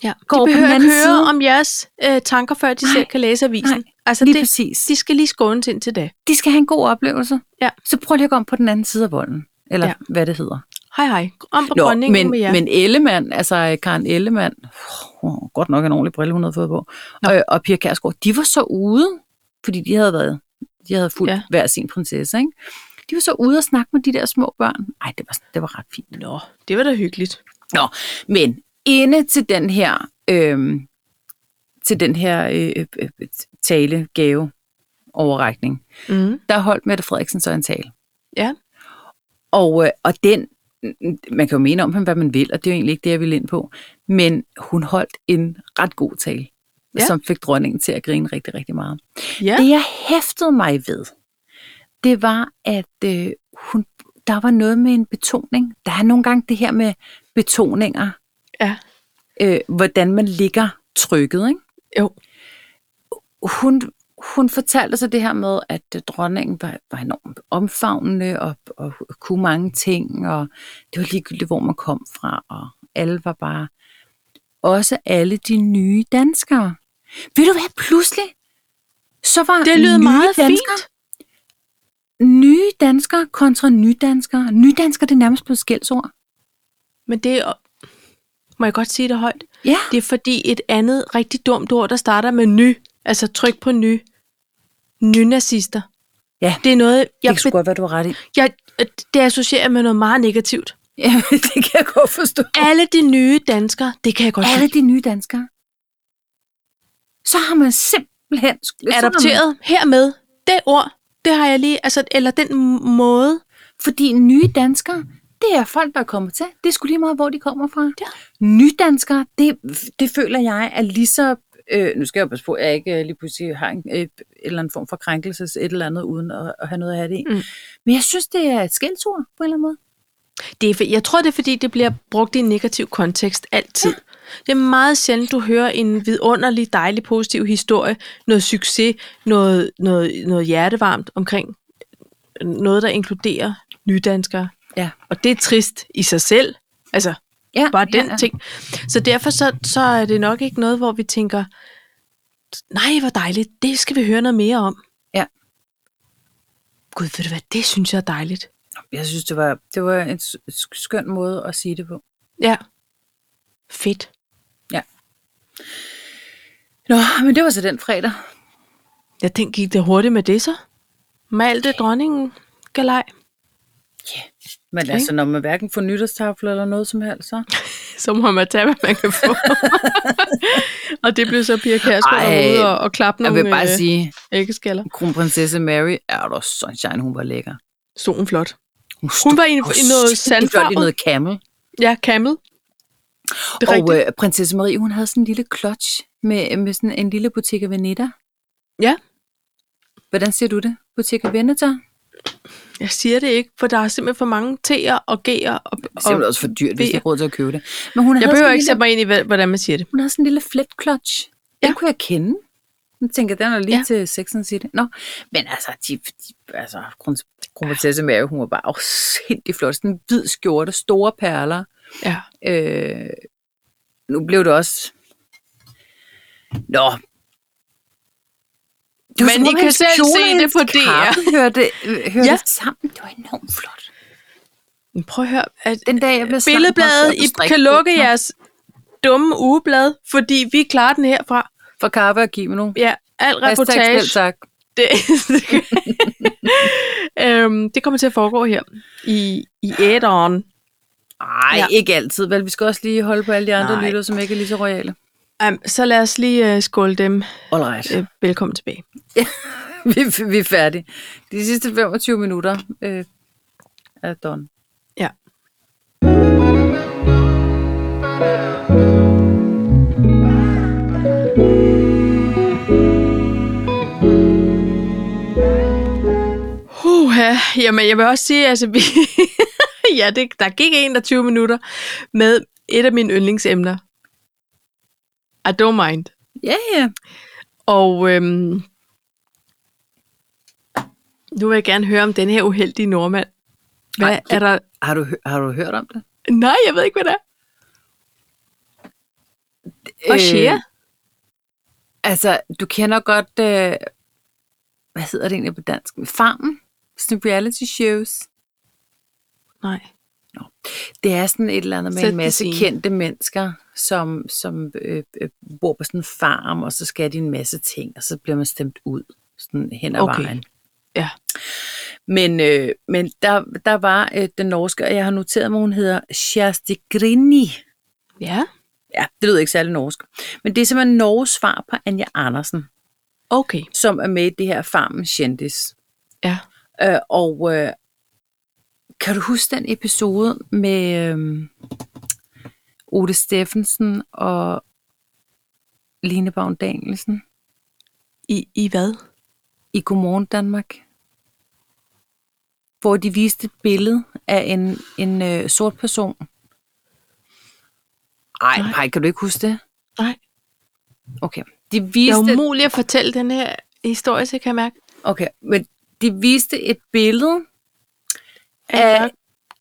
Speaker 1: Ja.
Speaker 2: Går
Speaker 1: De
Speaker 2: på den
Speaker 1: behøver ikke
Speaker 2: anden
Speaker 1: høre
Speaker 2: side.
Speaker 1: om jeres øh, tanker, før de
Speaker 2: Nej.
Speaker 1: selv kan læse avisen.
Speaker 2: Nej.
Speaker 1: Altså,
Speaker 2: Lige
Speaker 1: det,
Speaker 2: præcis.
Speaker 1: de skal lige skånes ind til det.
Speaker 2: de skal have en god oplevelse.
Speaker 1: Ja.
Speaker 2: Så prøv lige at gå om på den anden side af volden. Eller
Speaker 1: Ja.
Speaker 2: ja. hvad det hedder.
Speaker 1: Hej hej, om på
Speaker 2: Nå,
Speaker 1: dronningen
Speaker 2: men,
Speaker 1: med jer.
Speaker 2: men Ellemann, altså øh, Karen Ellemann, oh, godt nok en ordentlig brille, hun havde fået på, øh, og Pia Kærsgaard, de var så ude, fordi de havde været, de havde fulgt
Speaker 1: Ja.
Speaker 2: ja. hver sin prinsesse, ikke? De var så ude og snakke med de der små børn. Ej, det var, det var ret fint.
Speaker 1: Nå, det var da hyggeligt.
Speaker 2: Nå, men inde til den her, øh, til den her øh, øh, øh, tale, gave, overrækning,
Speaker 1: Mm.
Speaker 2: der holdt Mette Frederiksen så en tale.
Speaker 1: Ja.
Speaker 2: Og, øh, og den, man kan jo mene om hende, hvad man vil, og det er jo egentlig ikke det, jeg vil ind på, men hun holdt en ret god tale,
Speaker 1: Ja.
Speaker 2: ja. som fik dronningen til at grine rigtig, rigtig meget.
Speaker 1: Ja.
Speaker 2: Ja. Det, jeg hæftede mig ved, det var, at øh, hun, der var noget med en betoning. Der er nogle gange det her med betoninger,
Speaker 1: ja.
Speaker 2: øh, hvordan man ligger trykket, ikke?
Speaker 1: Jo.
Speaker 2: hun, hun fortalte så det her med, at øh, dronningen var, var enormt omfavnende og, og kunne mange ting, og det var ligegyldigt, hvor man kom fra, og alle var bare... Også alle de nye danskere. Ved du hvad, pludselig, så var
Speaker 1: Det lyder
Speaker 2: nye
Speaker 1: meget
Speaker 2: danskere,
Speaker 1: fint.
Speaker 2: fint. nye danskere kontra nydanskere. Nydanskere, det er nærmest blevet skældsord.
Speaker 1: Men det er, må jeg godt sige det højt,
Speaker 2: Ja,
Speaker 1: det er fordi et andet rigtig dumt ord, der starter med ny, altså tryk på ny, nynazister.
Speaker 2: Ja.
Speaker 1: Det er noget,
Speaker 2: det
Speaker 1: jeg,
Speaker 2: kan sgu godt være, du har ret i.
Speaker 1: jeg, det associerer jeg med noget meget negativt.
Speaker 2: Ja, det kan jeg godt forstå.
Speaker 1: Alle de nye danskere, det kan jeg godt
Speaker 2: alle de nye danskere. Så har man simpelthen sk- så har Man,
Speaker 1: adopteret hermed. Det ord, det har jeg lige, altså, eller den m- måde.
Speaker 2: fordi nye danskere, det er folk, der kommer til. Det er sgu lige meget, hvor de kommer fra.
Speaker 1: Ja.
Speaker 2: Nydanskere, det, det føler jeg er lige så Øh, nu skal jeg jo passe på, at jeg ikke øh, lige pludselig har en øh, en eller anden form for krænkelses et eller andet, uden at, at have noget at have det i.
Speaker 1: Mm.
Speaker 2: Mm. Men jeg synes, det er et skældsord på en eller anden måde.
Speaker 1: Det er, for- jeg tror, det er, fordi det bliver brugt i en negativ kontekst altid. Det er meget sjældent, du hører en vidunderlig, dejlig, positiv historie, noget succes, noget, noget, noget hjertevarmt omkring øh, noget, der inkluderer nydanskere.
Speaker 2: Ja.
Speaker 1: Og det er trist i sig selv. Altså,
Speaker 2: Ja,
Speaker 1: bare den
Speaker 2: ja, ja.
Speaker 1: ting. Så derfor så, så er det nok ikke noget, hvor vi tænker, nej, hvor dejligt, det skal vi høre noget mere om.
Speaker 2: Ja.
Speaker 1: Gud, ved du hvad, det synes jeg er dejligt.
Speaker 2: Jeg synes, det var, det var en s- s- skøn måde at sige det på.
Speaker 1: Ja. Fedt.
Speaker 2: Nå, men det var så den fredag.
Speaker 1: Jeg tænkte, gik det hurtigt med det så? Med alt det dronningen galej.
Speaker 2: Men okay. altså, når man hverken får nytårstafler eller noget som helst, så...
Speaker 1: Så må man tage, hvad man kan få. og det blev så Pia Kærsgaard, der
Speaker 2: Ej,
Speaker 1: var ude og, og klappe nogle øh,
Speaker 2: sige,
Speaker 1: æggeskaller.
Speaker 2: kronprinsesse Mary er da sunshine, hun var lækker.
Speaker 1: Stod hun flot.
Speaker 2: Hun,
Speaker 1: Hun var i, en- i noget
Speaker 2: Det
Speaker 1: sandfarvet.
Speaker 2: noget camel.
Speaker 1: Ja, kamel. Det er
Speaker 2: og
Speaker 1: rigtigt.
Speaker 2: øh, prinsesse Marie, hun havde sådan en lille klods med, med sådan en lille butik af Veneta.
Speaker 1: Ja.
Speaker 2: Hvordan ser du det? Butik af Veneta? Det
Speaker 1: Jeg siger det ikke, for der er simpelthen for mange T'er og G'er. Og, og
Speaker 2: også for dyrt,
Speaker 1: hvis jeg
Speaker 2: råd til at købe det. Men hun
Speaker 1: jeg
Speaker 2: havde
Speaker 1: behøver
Speaker 2: sådan en
Speaker 1: ikke
Speaker 2: lille,
Speaker 1: sætte mig ind i, hvad- hvordan man siger det.
Speaker 2: hun havde sådan en lille flet clutch. Den
Speaker 1: Ja.
Speaker 2: kunne jeg kende. Nu tænker jeg, den er lige
Speaker 1: Ja.
Speaker 2: ja. til Sex and City. Nå, men altså, de, de, altså kron- kronprinsesse Mary, hun var bare afsindig flot. Sådan en hvid skjorte, store perler.
Speaker 1: Ja.
Speaker 2: Øh, nu blev det også... Nå. Det
Speaker 1: Men
Speaker 2: var som om
Speaker 1: I kan
Speaker 2: hendes
Speaker 1: selv
Speaker 2: kjole
Speaker 1: se
Speaker 2: og
Speaker 1: det
Speaker 2: hendes
Speaker 1: på DR.
Speaker 2: kappe Hørte, øh, hørte
Speaker 1: Ja.
Speaker 2: ja. sammen. Det var enormt flot.
Speaker 1: Men prøv at høre, at
Speaker 2: Den dag, jeg blev slank,
Speaker 1: billedbladet,
Speaker 2: måtte jeg
Speaker 1: I
Speaker 2: på strik-
Speaker 1: kan lukke jeres dumme ugeblad, fordi vi klarer den herfra.
Speaker 2: For kaffe og kimono.
Speaker 1: Ja, al
Speaker 2: Hashtag selv
Speaker 1: reportage.
Speaker 2: tak.
Speaker 1: Det, øhm, det kommer til at foregå her i, i æderen.
Speaker 2: Ej,
Speaker 1: Ja.
Speaker 2: ja. ikke altid. Vel, vi skal også lige holde på alle de andre
Speaker 1: Nej.
Speaker 2: lyttere, som ikke er lige så royale.
Speaker 1: Um, så lad os lige uh, skåle dem
Speaker 2: All right.
Speaker 1: uh, velkommen tilbage.
Speaker 2: Øh, vi, vi er færdige. De sidste 25 minutter øh, er done.
Speaker 1: Ja. Uh, ja. Jamen, jeg vil også sige, altså, vi ja, det, der gik 21 minutter med et af mine yndlingsemner. I don't mind.
Speaker 2: Ja, ja.
Speaker 1: Og øhm, nu vil jeg gerne høre om den her uheldige nordmand. Hvad
Speaker 2: Ej,
Speaker 1: er der?
Speaker 2: Har du, hø- har du hørt om det?
Speaker 1: Nej, jeg ved ikke, hvad det er. Og Shea?
Speaker 2: Øh, Altså, du kender godt, øh, hvad hedder det egentlig på dansk? Farmen? Sådan reality shows.
Speaker 1: Nej.
Speaker 2: Det er sådan et eller andet med
Speaker 1: Sæt
Speaker 2: en masse
Speaker 1: det scene.
Speaker 2: kendte mennesker, som, som øh, øh, bor på sådan en farm, og så skal de en masse ting, og så bliver man stemt ud sådan hen ad
Speaker 1: Okay.
Speaker 2: okay. vejen.
Speaker 1: Ja.
Speaker 2: Men, øh, men der, der var øh, den norske, og jeg har noteret mig, hun hedder Kjersti Grini.
Speaker 1: Ja,
Speaker 2: Ja, det lyder ikke særlig norsk. Men det er simpelthen Norges svar på Anja Andersen,
Speaker 1: okay.
Speaker 2: som er med i det her Farmen Kendis.
Speaker 1: Ja.
Speaker 2: Øh, og øh, kan du huske den episode med øh, Ole Steffensen og Line Baun Danielsen
Speaker 1: I, I hvad?
Speaker 2: i Godmorgen Danmark? Hvor de viste et billede af en, en øh, sort person. Ej,
Speaker 1: Nej.
Speaker 2: nej, kan du ikke huske det?
Speaker 1: Nej.
Speaker 2: Okay. De
Speaker 1: Det
Speaker 2: viste
Speaker 1: er umuligt at fortælle den her historie, så jeg kan jeg mærke.
Speaker 2: Okay, men de viste et billede
Speaker 1: Af en
Speaker 2: af,
Speaker 1: mørk,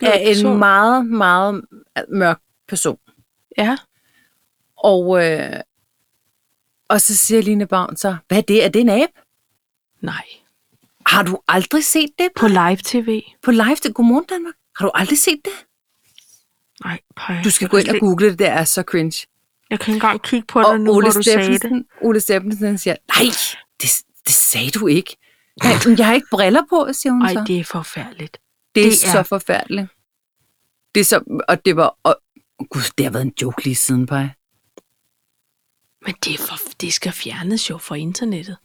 Speaker 1: blå
Speaker 2: af
Speaker 1: person.
Speaker 2: en meget, meget mørk person.
Speaker 1: Ja.
Speaker 2: Og, øh, og så siger Line Bavn så, hvad er det? Er det en abe?
Speaker 1: Nej.
Speaker 2: Har du aldrig set det
Speaker 1: På live tv.
Speaker 2: på live til Godmorgen Danmark? Har du aldrig set det?
Speaker 1: Nej, pej.
Speaker 2: Du skal gå ind og google det, det er så cringe.
Speaker 1: Jeg kan ikke engang kigge på
Speaker 2: Og
Speaker 1: dig nu, hvor
Speaker 2: Ole
Speaker 1: du sagde det.
Speaker 2: Steffensen, Ole Steffensen han siger, nej, det, det sagde du ikke. Nej, men jeg har ikke briller på, siger hun
Speaker 1: Ej,
Speaker 2: så.
Speaker 1: det er forfærdeligt.
Speaker 2: Det er,
Speaker 1: Det
Speaker 2: det
Speaker 1: er-
Speaker 2: er så forfærdeligt. Det er så, og det var... Og, Gud, det har været en joke lige siden, Paj.
Speaker 1: Men det, er for, det skal fjernes jo fra internettet.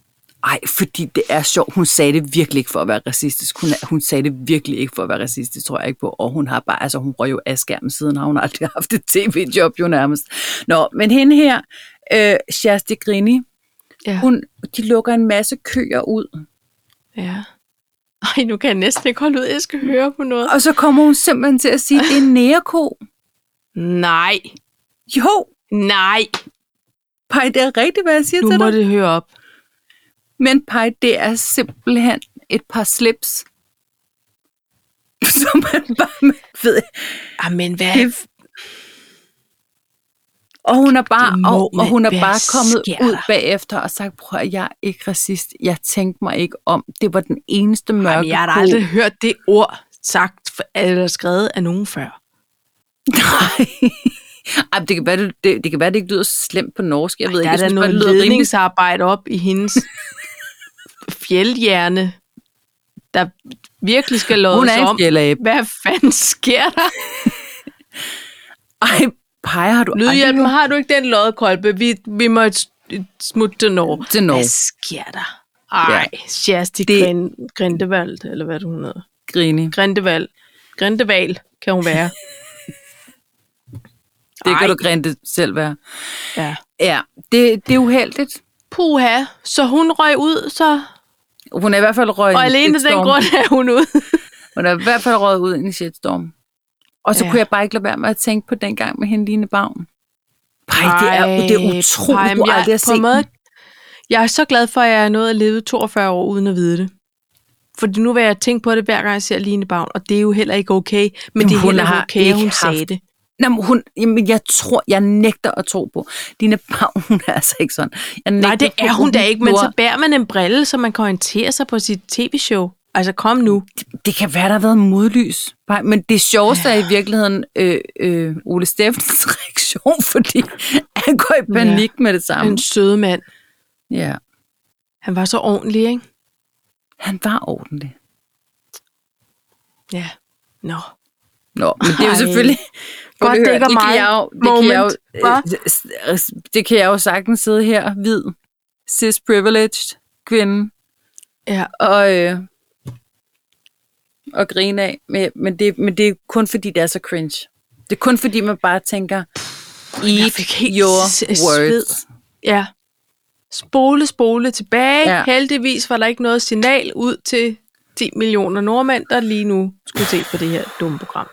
Speaker 2: Ej, fordi det er sjovt. Hun sagde det virkelig ikke for at være racistisk. Hun, er- hun sagde det virkelig ikke for at være racistisk, tror jeg ikke på. Og hun har bare, altså hun røg jo af skærmen siden, har hun aldrig haft et tv-job jo nærmest. Nå, men hende her, øh, Shasti Grini,
Speaker 1: Ja.
Speaker 2: hun, de lukker en masse køer ud.
Speaker 1: ja. Ej, nu kan jeg næsten ikke holde ud. Jeg skal høre på noget.
Speaker 2: Og så kommer hun simpelthen til at sige, det er en næreko.
Speaker 1: Nej,
Speaker 2: Jo,
Speaker 1: nej.
Speaker 2: Pej, det er rigtigt, hvad jeg siger
Speaker 1: Nu
Speaker 2: til
Speaker 1: må
Speaker 2: dig.
Speaker 1: det høre op.
Speaker 2: Men Pej, det er simpelthen et par slips. Som man bare man ved.
Speaker 1: Jamen, hvad?
Speaker 2: Det- Og hun er bare,
Speaker 1: Det må
Speaker 2: og, og
Speaker 1: man-
Speaker 2: hun er
Speaker 1: hvad
Speaker 2: bare kommet
Speaker 1: sker
Speaker 2: ud
Speaker 1: der?
Speaker 2: bagefter og sagt, prøv at jeg er ikke racist. Jeg tænkte mig ikke om. Det var den eneste mørke
Speaker 1: Jamen, jeg har da aldrig hørt det ord sagt f- eller skrevet af nogen før.
Speaker 2: Nej. Ej, men det kan være, det, det, det kan være, det ikke lyder så slemt på norsk. Jeg ved
Speaker 1: Der
Speaker 2: ikke,
Speaker 1: er
Speaker 2: jeg
Speaker 1: da
Speaker 2: synes, bare,
Speaker 1: noget
Speaker 2: det lyder rimelig...
Speaker 1: ledningsarbejde op i hendes fjeldhjerne, der virkelig skal
Speaker 2: Hun
Speaker 1: lådes
Speaker 2: er
Speaker 1: om.
Speaker 2: en fjellab.
Speaker 1: Hvad fanden sker der?
Speaker 2: Ej, peger har du
Speaker 1: Lydhjælpen, har du ikke den loddekolbe? Vi, vi må et, et smutte til Norge.
Speaker 2: Til Norge.
Speaker 1: Hvad sker der? Ej, Sjasti
Speaker 2: Det-
Speaker 1: det... Grindevald, eller hvad du hedder.
Speaker 2: Grine.
Speaker 1: Grindevald. Grindeval kan hun være.
Speaker 2: Det
Speaker 1: Ej.
Speaker 2: kan du grinte selv være.
Speaker 1: Ja.
Speaker 2: Ja, det, det er uheldigt.
Speaker 1: Puha, så hun røg ud, så...
Speaker 2: Hun er i hvert fald røget
Speaker 1: Og
Speaker 2: i en
Speaker 1: alene af den
Speaker 2: shitstorm.
Speaker 1: grund er hun ude.
Speaker 2: Hun er i hvert fald røget ud i en shitstorm. Og så
Speaker 1: Ja.
Speaker 2: ja. kunne jeg bare ikke lade være med at tænke på dengang med hende Line Bavn. Ej, det er, det er utroligt,
Speaker 1: Ej,
Speaker 2: du
Speaker 1: men jeg-
Speaker 2: aldrig har
Speaker 1: på en
Speaker 2: set
Speaker 1: måde,
Speaker 2: måde...
Speaker 1: Jeg er så glad for, at jeg er nået at leve 42 år uden at vide det. Fordi nu vil jeg tænke på det, hver gang jeg ser Line Bavn, og det er jo heller ikke okay. Men
Speaker 2: Jamen,
Speaker 1: det er
Speaker 2: hun
Speaker 1: heller ikke
Speaker 2: har
Speaker 1: okay, at
Speaker 2: ikke
Speaker 1: hun
Speaker 2: haft-
Speaker 1: sagde det.
Speaker 2: Nå, men hun, jamen, jeg tror, jeg nægter at tro på. Line Bavn, hun er altså ikke sådan. Jeg nægter
Speaker 1: Nej, det
Speaker 2: at tro
Speaker 1: er
Speaker 2: på,
Speaker 1: hun da ikke, men
Speaker 2: gjorde-
Speaker 1: så bærer man en brille, så man kan orientere sig på sit tv-show. Altså, kom nu.
Speaker 2: Det kan være, der har været modlys. Bare- Men det sjoveste ja. er i virkeligheden øh, øh, Ole Steffens reaktion, fordi han går i panik ja. med det samme.
Speaker 1: En søde mand.
Speaker 2: Ja,
Speaker 1: Han var så ordentlig, ikke?
Speaker 2: han var ordentlig.
Speaker 1: Ja. Nå.
Speaker 2: Nå, men det er jo
Speaker 1: Ej.
Speaker 2: selvfølgelig...
Speaker 1: Godt,
Speaker 2: Prøv lige at
Speaker 1: det
Speaker 2: høre,
Speaker 1: ikke var
Speaker 2: det kan
Speaker 1: mig.
Speaker 2: jeg jo,
Speaker 1: Moment.
Speaker 2: det kan jeg jo, øh, s- s- det kan jeg jo sagtens sidde her, hvid, cis-privileged kvinde,
Speaker 1: Ja.
Speaker 2: og, øh, og grine af. Men, men, det, men det er kun fordi, det er så cringe. Det er kun fordi, man bare tænker, eat
Speaker 1: fik helt
Speaker 2: your
Speaker 1: s- sved.
Speaker 2: words.
Speaker 1: Ja. Spole, spole tilbage. Ja.
Speaker 2: Ja.
Speaker 1: Heldigvis var der ikke noget signal ud til 10 millioner nordmænd, der lige nu skulle se på det her dumme program.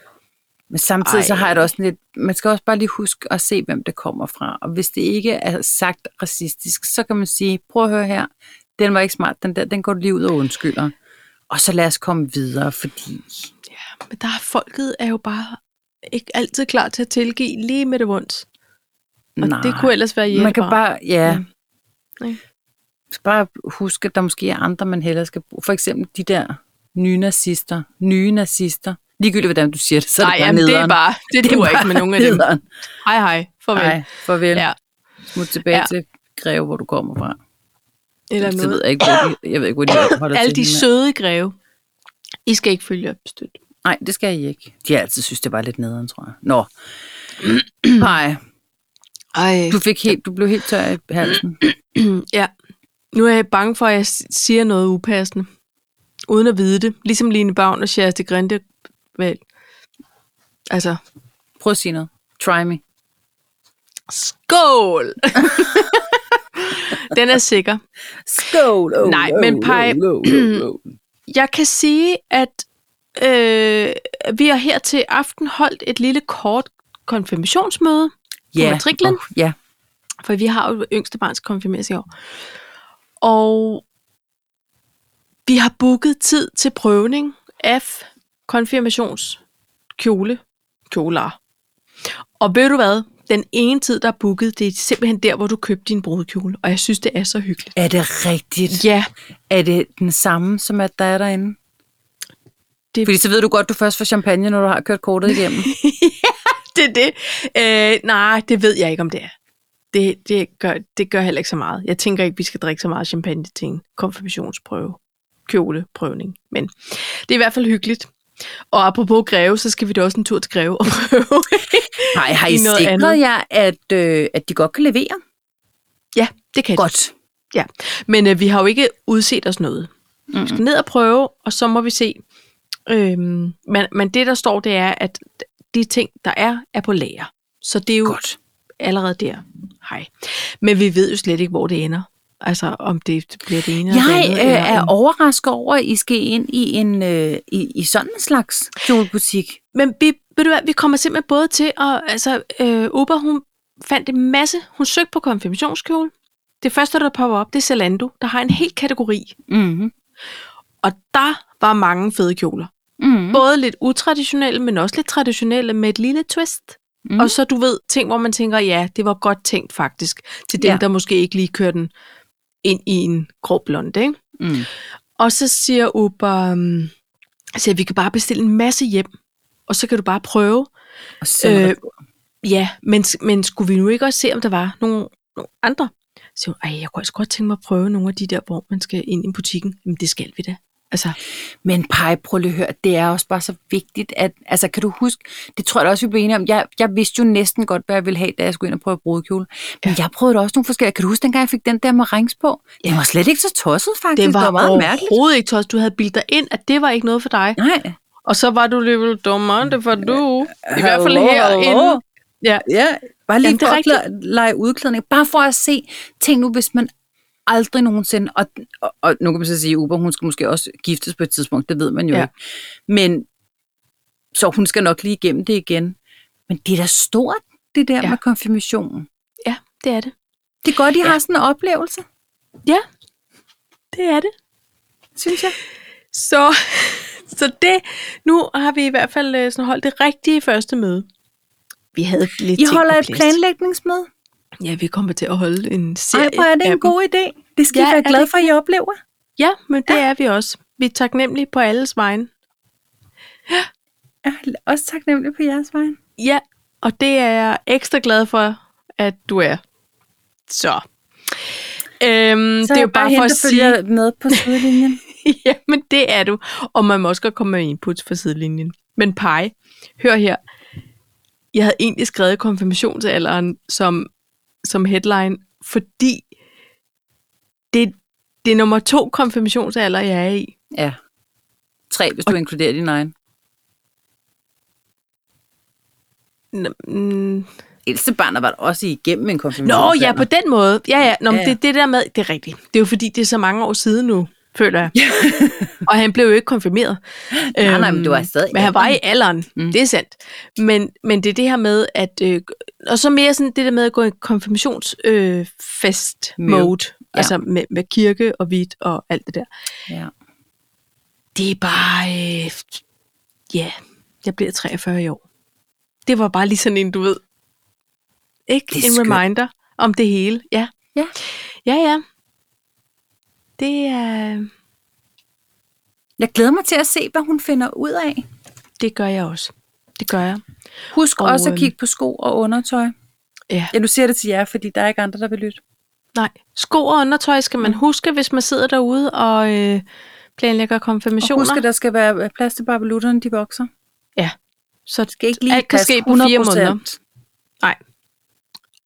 Speaker 2: Men samtidig Ej. så
Speaker 1: Ej.
Speaker 2: har jeg det også sådan lidt, man skal også bare lige huske at se, hvem det kommer fra. Og hvis det ikke er sagt racistisk, så kan man sige, prøv at høre her, den var ikke smart, den der, den går du lige ud og undskylder. Og så lad os komme videre, fordi...
Speaker 1: Ja, men der er folket er jo bare ikke altid klar til at tilgive lige med det vundt. Og
Speaker 2: nej,
Speaker 1: det kunne ellers være
Speaker 2: man
Speaker 1: hjælpbart.
Speaker 2: kan bare, ja,
Speaker 1: Mm. Nej.
Speaker 2: skal bare huske, at der måske er andre, man hellere skal bruge. For eksempel de der nye nazister, nye nazister. Ligegyldigt, hvordan du siger det, så
Speaker 1: Nej,
Speaker 2: er det bare
Speaker 1: jamen, det er
Speaker 2: nederen.
Speaker 1: bare, det, det duer ikke med nogen af dem.
Speaker 2: nederen.
Speaker 1: Hej, hej. Farvel.
Speaker 2: Nej, farvel.
Speaker 1: Ja.
Speaker 2: Smut tilbage
Speaker 1: Ja.
Speaker 2: ja. til Greve, hvor du kommer fra.
Speaker 1: Eller
Speaker 2: Så ved
Speaker 1: noget.
Speaker 2: jeg ikke, hvor de, jeg ved ikke, hvor de holder
Speaker 1: Alle
Speaker 2: til
Speaker 1: de
Speaker 2: hende.
Speaker 1: søde greve. I skal ikke følge op støtte.
Speaker 2: Nej, det skal jeg ikke. De har altid synes, det var lidt nederen, tror jeg. Nå. Nej,
Speaker 1: Ej.
Speaker 2: du, fik helt, du blev helt tør i halsen.
Speaker 1: Ja. Nu er jeg bange for, at jeg s- siger noget upassende. Uden at vide det. Ligesom Line Bavn og Sjærs de Grinde. Vel. Altså,
Speaker 2: Prøv at sige noget. Try me.
Speaker 1: skål! Den er sikker.
Speaker 2: Skål!
Speaker 1: oh, Nej, oh, men Paj- oh, Jeg kan sige, at øh, vi har her til aften holdt et lille kort konfirmationsmøde.
Speaker 2: Ja.
Speaker 1: matriklen?
Speaker 2: Åh, ja.
Speaker 1: For vi har jo yngste barns konfirmeres i år. Og vi har booket tid til prøvning af konfirmationskjole. Kjoler. Og ved du hvad? Den ene tid, der er booket, det er simpelthen der, hvor du købte din brudekjole. Og jeg synes, det er så hyggeligt.
Speaker 2: Er det rigtigt?
Speaker 1: Ja,
Speaker 2: Er det den samme, som at der er derinde?
Speaker 1: Det-
Speaker 2: Det... Fordi så ved du godt, du først får champagne, når du har kørt kortet igennem.
Speaker 1: det er det. Øh, nej, det ved jeg ikke, om det er. Det, det, gør, det gør heller ikke så meget. Jeg tænker ikke, vi skal drikke så meget champagne til en konfirmationsprøve. Kjoleprøvning. Men det er i hvert fald hyggeligt. Og apropos Greve, så skal vi da også en tur til Greve og prøve.
Speaker 2: Nej, har
Speaker 1: I
Speaker 2: I
Speaker 1: noget
Speaker 2: sikret
Speaker 1: andet?
Speaker 2: jer, at, øh, at de godt kan levere?
Speaker 1: ja, det kan
Speaker 2: Godt.
Speaker 1: Ja, men øh, vi har jo ikke udset os noget. Mm. Vi skal ned og prøve, og så må vi se. Øhm, men, men det, der står, det er, at de ting, der er, er på lager. Så det er jo
Speaker 2: Godt.
Speaker 1: allerede der. Hej. Men vi ved jo slet ikke, hvor det ender. Altså, om det bliver det ene eller det
Speaker 2: Jeg
Speaker 1: andet.
Speaker 2: øh,
Speaker 1: eller
Speaker 2: er
Speaker 1: om-
Speaker 2: overrasket over, at I skal ind i, en, øh, i, i sådan en slags kjolebutik.
Speaker 1: Men vi, ved du hvad, vi kommer simpelthen både til at... Altså, øh, Uber, hun fandt en masse... Hun søgte på konfirmationskjole. Det første, der popper op, det er Zalando, der har en hel kategori.
Speaker 2: Mm-hmm.
Speaker 1: Og der var mange fede kjoler.
Speaker 2: Mm-hmm.
Speaker 1: Både lidt utraditionelle, men også lidt traditionelle med et lille twist. Mm. Og så, du ved, ting, hvor man tænker, ja, det var godt tænkt faktisk. Til dem,
Speaker 2: Ja.
Speaker 1: ja. der måske ikke lige kører den ind i en grå blonde, ikke?
Speaker 2: Mm.
Speaker 1: Og så siger Uber, um, altså, vi kan bare bestille en masse hjem, og så kan du bare prøve.
Speaker 2: Og så øh,
Speaker 1: Øh, Ja, men, men skulle vi nu ikke også se, om der var nogle, nogle andre? Så siger hun, ej, jeg kunne altså godt tænke mig at prøve nogle af de der, hvor man skal ind i butikken. Jamen, det skal vi da. Altså,
Speaker 2: Men pej, prøv lige at høre, det er også bare så vigtigt, at, altså kan du huske, det tror jeg da også, vi blev enige om, jeg, jeg vidste jo næsten godt, hvad jeg ville have, da jeg skulle ind og prøve brudekjole, men ja. jeg prøvede da også nogle forskellige, kan du huske, dengang jeg fik den der med rings på? Den var slet ikke så tosset faktisk,
Speaker 1: det var,
Speaker 2: det var meget mærkeligt.
Speaker 1: overhovedet ikke tosset. Du havde bildt dig ind, at det var ikke noget for dig.
Speaker 2: Nej.
Speaker 1: Og så var du lidt dummere, det var du. I hvert fald herinde. Ja.
Speaker 2: Ja, bare lige
Speaker 1: Jamen, det er
Speaker 2: for
Speaker 1: rigtigt.
Speaker 2: at kla- lege udklædning, bare for at se, tænk nu, hvis man aldrig nogensinde, og, og, og nu kan man så sige, Uber, hun skal måske også giftes på et tidspunkt, det ved man jo
Speaker 1: Ja.
Speaker 2: ja. ikke, men så hun skal nok lige igennem det igen. Men det er da stort, det der
Speaker 1: Ja.
Speaker 2: ja. med konfirmationen.
Speaker 1: Ja, det er det.
Speaker 2: Det er godt, I ja. har sådan en oplevelse,
Speaker 1: Ja, det er det.
Speaker 2: synes jeg.
Speaker 1: Så, så det, nu har vi i hvert fald øh, sådan holdt det rigtige første møde. Vi havde lidt
Speaker 2: I
Speaker 1: ting
Speaker 2: holder
Speaker 1: på
Speaker 2: et
Speaker 1: plads.
Speaker 2: planlægningsmøde.
Speaker 1: Ja, vi kommer til at holde en serie
Speaker 2: Ej, hvor er det
Speaker 1: af
Speaker 2: en god idé. Det skal
Speaker 1: Ja,
Speaker 2: ja, I
Speaker 1: er
Speaker 2: være
Speaker 1: det
Speaker 2: glade
Speaker 1: ikke
Speaker 2: for, at I oplever.
Speaker 1: Ja, men det er vi også. Vi er taknemmelige på alles vegne.
Speaker 2: Jeg er også taknemmelig på jeres vej.
Speaker 1: Ja, og det er jeg ekstra glad for, at du er. Så. Øhm,
Speaker 2: Så
Speaker 1: så det er jo bare for at sige,
Speaker 2: følger med på sidelinjen.
Speaker 1: ja, men det er du. Og man må også godt komme med input fra sidelinjen. Men pege, hør her. Jeg havde egentlig skrevet konfirmationsalderen som, som headline, fordi det, det er nummer to konfirmationsalder, jeg er i.
Speaker 2: Ja. Tre, hvis du inkluderer din egen.
Speaker 1: N- mm,
Speaker 2: Ældste barnet var da også igennem en konfirmation.
Speaker 1: Nå, ja, på den måde. Ja, ja. Nå, men
Speaker 2: Ja.
Speaker 1: Det, det der med, det er rigtigt. Det er jo fordi, det er så mange år siden nu, føler jeg. og han blev jo ikke konfirmeret.
Speaker 2: Nej, nej, men du var
Speaker 1: Øhm,
Speaker 2: stadig i
Speaker 1: Men han var i
Speaker 2: alderen.
Speaker 1: alderen, mm.
Speaker 2: Mm.
Speaker 1: det er sandt. Men, men det er det her med, at... Øh, og så mere sådan det der med at gå i konfirmationsfest-mode. Øh, fest-mode.
Speaker 2: Ja.
Speaker 1: Altså med, med kirke og hvidt og alt det der.
Speaker 2: Ja.
Speaker 1: Det er bare... Øh, ja, jeg bliver 43 i år. Det var bare lige sådan en, du ved. Ikke
Speaker 2: Det
Speaker 1: en
Speaker 2: er skønt.
Speaker 1: reminder om det hele. Ja.
Speaker 2: Ja.
Speaker 1: Ja, ja. Det er...
Speaker 2: Jeg glæder mig til at se, hvad hun finder ud af.
Speaker 1: Det gør jeg også. Det gør jeg.
Speaker 2: Husk
Speaker 1: Og,
Speaker 2: og, også at
Speaker 1: øhm,
Speaker 2: kigge på sko og undertøj.
Speaker 1: Ja.
Speaker 2: Ja, nu siger jeg det til jer, fordi der er ikke andre, der vil lytte.
Speaker 1: Nej. Sko og undertøj skal
Speaker 2: Mm.
Speaker 1: man huske, hvis man sidder derude og øh, planlægger
Speaker 2: Og
Speaker 1: konfirmationer.
Speaker 2: husk, at der skal være øh, plads til barbelutterne, de vokser.
Speaker 1: Så det
Speaker 2: Det skal ikke lige
Speaker 1: Alt kan
Speaker 2: passe
Speaker 1: ske på fire
Speaker 2: 100%.
Speaker 1: måneder.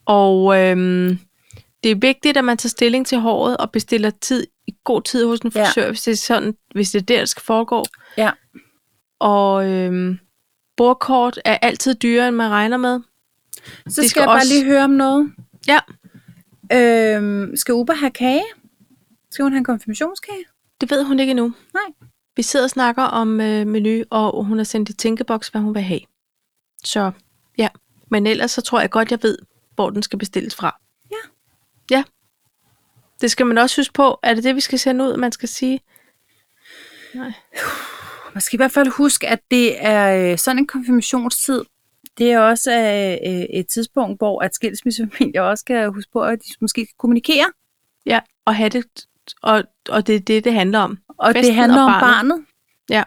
Speaker 1: Og øhm, det er vigtigt, at man tager stilling til håret og bestiller tid i god tid hos en
Speaker 2: Ja.
Speaker 1: frisør, ja. hvis det er sådan, hvis det er der, det skal foregå.
Speaker 2: Ja.
Speaker 1: Og øhm, bordkort er altid dyrere, end man regner med.
Speaker 2: Så
Speaker 1: skal
Speaker 2: skal, skal jeg bare
Speaker 1: også-
Speaker 2: lige høre om noget.
Speaker 1: Ja.
Speaker 2: Øhm, skal Uber have kage? Skal hun have en konfirmationskage?
Speaker 1: Det ved hun ikke endnu.
Speaker 2: Nej.
Speaker 1: Vi sidder og snakker om øh, menu, og hun har sendt i tænkeboks, hvad hun vil have. Så ja, men ellers så tror jeg godt, jeg ved, hvor den skal bestilles fra.
Speaker 2: Ja.
Speaker 1: Ja. Det skal man også huske på. Er det det, vi skal sende ud, man skal sige?
Speaker 2: Man skal i hvert fald huske, at det er øh, sådan en konfirmationstid. Det er også øh, øh, et tidspunkt, hvor at skilsmissefamilier også skal huske på, at de måske skal kommunikere.
Speaker 1: Ja, og have det, og, og det er det, det handler om.
Speaker 2: Og
Speaker 1: Festen
Speaker 2: det handler
Speaker 1: og
Speaker 2: om
Speaker 1: barnet.
Speaker 2: barnet.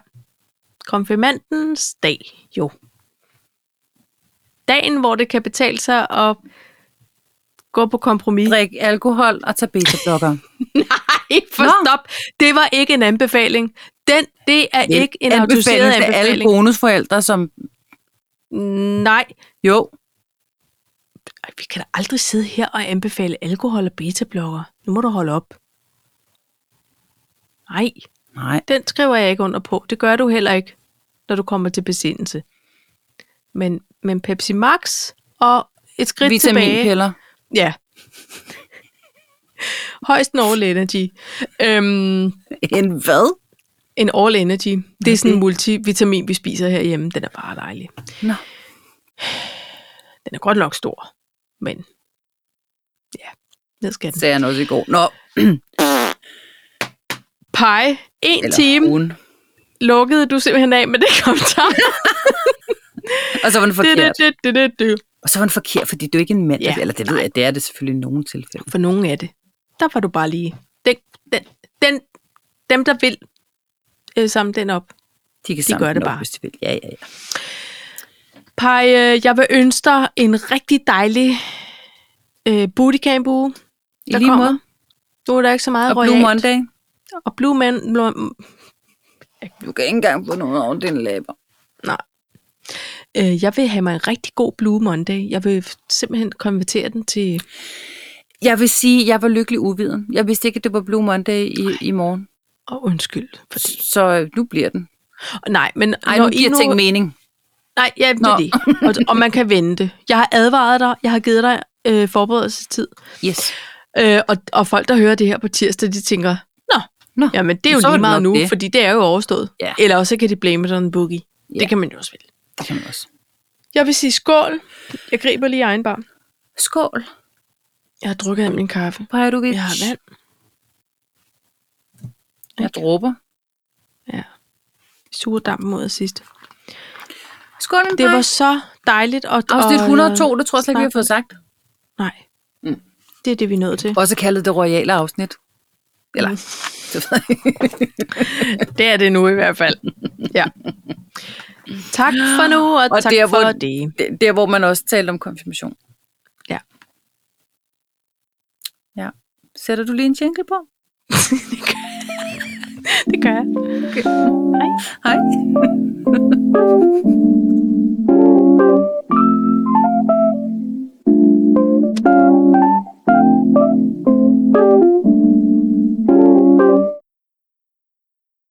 Speaker 1: Konfirmandens dag, jo. Dagen, hvor det kan betale sig at gå på kompromis.
Speaker 2: Drik alkohol og tage beta-blokker.
Speaker 1: Nej, for
Speaker 2: Nå.
Speaker 1: stop. Det var ikke en anbefaling. Den, det er ikke en autoriseret
Speaker 2: anbefaling til alle
Speaker 1: anbefaling.
Speaker 2: bonusforældre, som
Speaker 1: Nej,
Speaker 2: jo,
Speaker 1: Ej, vi kan da aldrig sidde her og anbefale alkohol og betablokker. Nu må du holde op. Nej,
Speaker 2: nej,
Speaker 1: den skriver jeg ikke under på. Det gør du heller ikke, når du kommer til besindelse. Men, men Pepsi Max og et skridt tilbage.
Speaker 2: vitaminpiller.
Speaker 1: Ja. højst en all energy. Øhm,
Speaker 2: En hvad?
Speaker 1: en all energy. Det er sådan en multivitamin, vi spiser herhjemme. Den er bare dejlig.
Speaker 2: Nå.
Speaker 1: Den er godt nok stor, men ja, ned skal den.
Speaker 2: Sagde han også i går. Nå,
Speaker 1: Pie, en
Speaker 2: eller
Speaker 1: time.
Speaker 2: ugen.
Speaker 1: Lukkede du simpelthen af med det kommentar.
Speaker 2: Og så var den
Speaker 1: Det, det,
Speaker 2: forkert.
Speaker 1: det, det, det, det.
Speaker 2: Og så var den forkert, fordi du er ikke en mand.
Speaker 1: Ja,
Speaker 2: Ja, eller det ved jeg, det er det selvfølgelig i nogle tilfælde.
Speaker 1: For nogen af det. Der var du bare lige. Den, den, den, dem, der vil øh, samle den op.
Speaker 2: De kan
Speaker 1: De gør
Speaker 2: samle den
Speaker 1: det
Speaker 2: op,
Speaker 1: bare.
Speaker 2: Hvis de vil. Ja, ja, ja.
Speaker 1: Pej, øh, jeg vil ønske dig en rigtig dejlig øh, bootcamp uge
Speaker 2: I lige måde.
Speaker 1: Nu er der ikke så meget
Speaker 2: Og Blue
Speaker 1: royalt.
Speaker 2: Monday.
Speaker 1: Og Blue Man, Blue,
Speaker 2: Du kan ikke engang få noget over din læber.
Speaker 1: øh, jeg vil have mig en rigtig god Blue Monday. Jeg vil simpelthen konvertere den til...
Speaker 2: Jeg vil sige, at jeg var lykkelig uviden. Jeg vidste ikke, at det var Blue Monday i, i morgen.
Speaker 1: Og oh, undskyld for det.
Speaker 2: Så øh, nu bliver den.
Speaker 1: Nej, men
Speaker 2: Ej, nu giver ting mening.
Speaker 1: Nej, ja, det
Speaker 2: Nå.
Speaker 1: er det. Og, og man kan vente. Jeg har advaret dig. Jeg har givet dig øh, forberedelsestid.
Speaker 2: Yes.
Speaker 1: Øh, og, og folk, der hører det her på tirsdag, de tænker, Nå,
Speaker 2: Nå,
Speaker 1: jamen det er jo
Speaker 2: så er
Speaker 1: lige
Speaker 2: det
Speaker 1: meget nu,
Speaker 2: nok
Speaker 1: det.
Speaker 2: det."
Speaker 1: fordi det er jo overstået.
Speaker 2: Ja.
Speaker 1: Eller også kan de blame it on boogie. Ja.
Speaker 2: Ja.
Speaker 1: Det kan man jo også vælge.
Speaker 2: Det kan man også.
Speaker 1: Jeg vil sige skål. Jeg griber lige egen bar.
Speaker 2: Skål.
Speaker 1: Jeg har drukket af min kaffe.
Speaker 2: Pajadovic.
Speaker 1: Jeg har vand.
Speaker 2: Jeg dråber.
Speaker 1: Sure dampen mod sidst.
Speaker 2: Skål,
Speaker 1: Det var så dejligt. Og,
Speaker 2: Afsnit
Speaker 1: og- øh,
Speaker 2: 102, det tror jeg slet ikke, vi har fået sagt.
Speaker 1: Nej.
Speaker 2: Mm.
Speaker 1: Det er det, vi er nødt til.
Speaker 2: Også kaldet det royale afsnit. Eller,
Speaker 1: Mm.
Speaker 2: det ved jeg ikke.
Speaker 1: Det er det nu i hvert fald. Ja. Tak for nu, og,
Speaker 2: Og
Speaker 1: tak
Speaker 2: der,
Speaker 1: for
Speaker 2: hvor-
Speaker 1: det.
Speaker 2: Det- der, hvor man også talte om konfirmation.
Speaker 1: Ja.
Speaker 2: Ja. Sætter du lige en jingle på?
Speaker 1: Det gør jeg.
Speaker 2: Hej.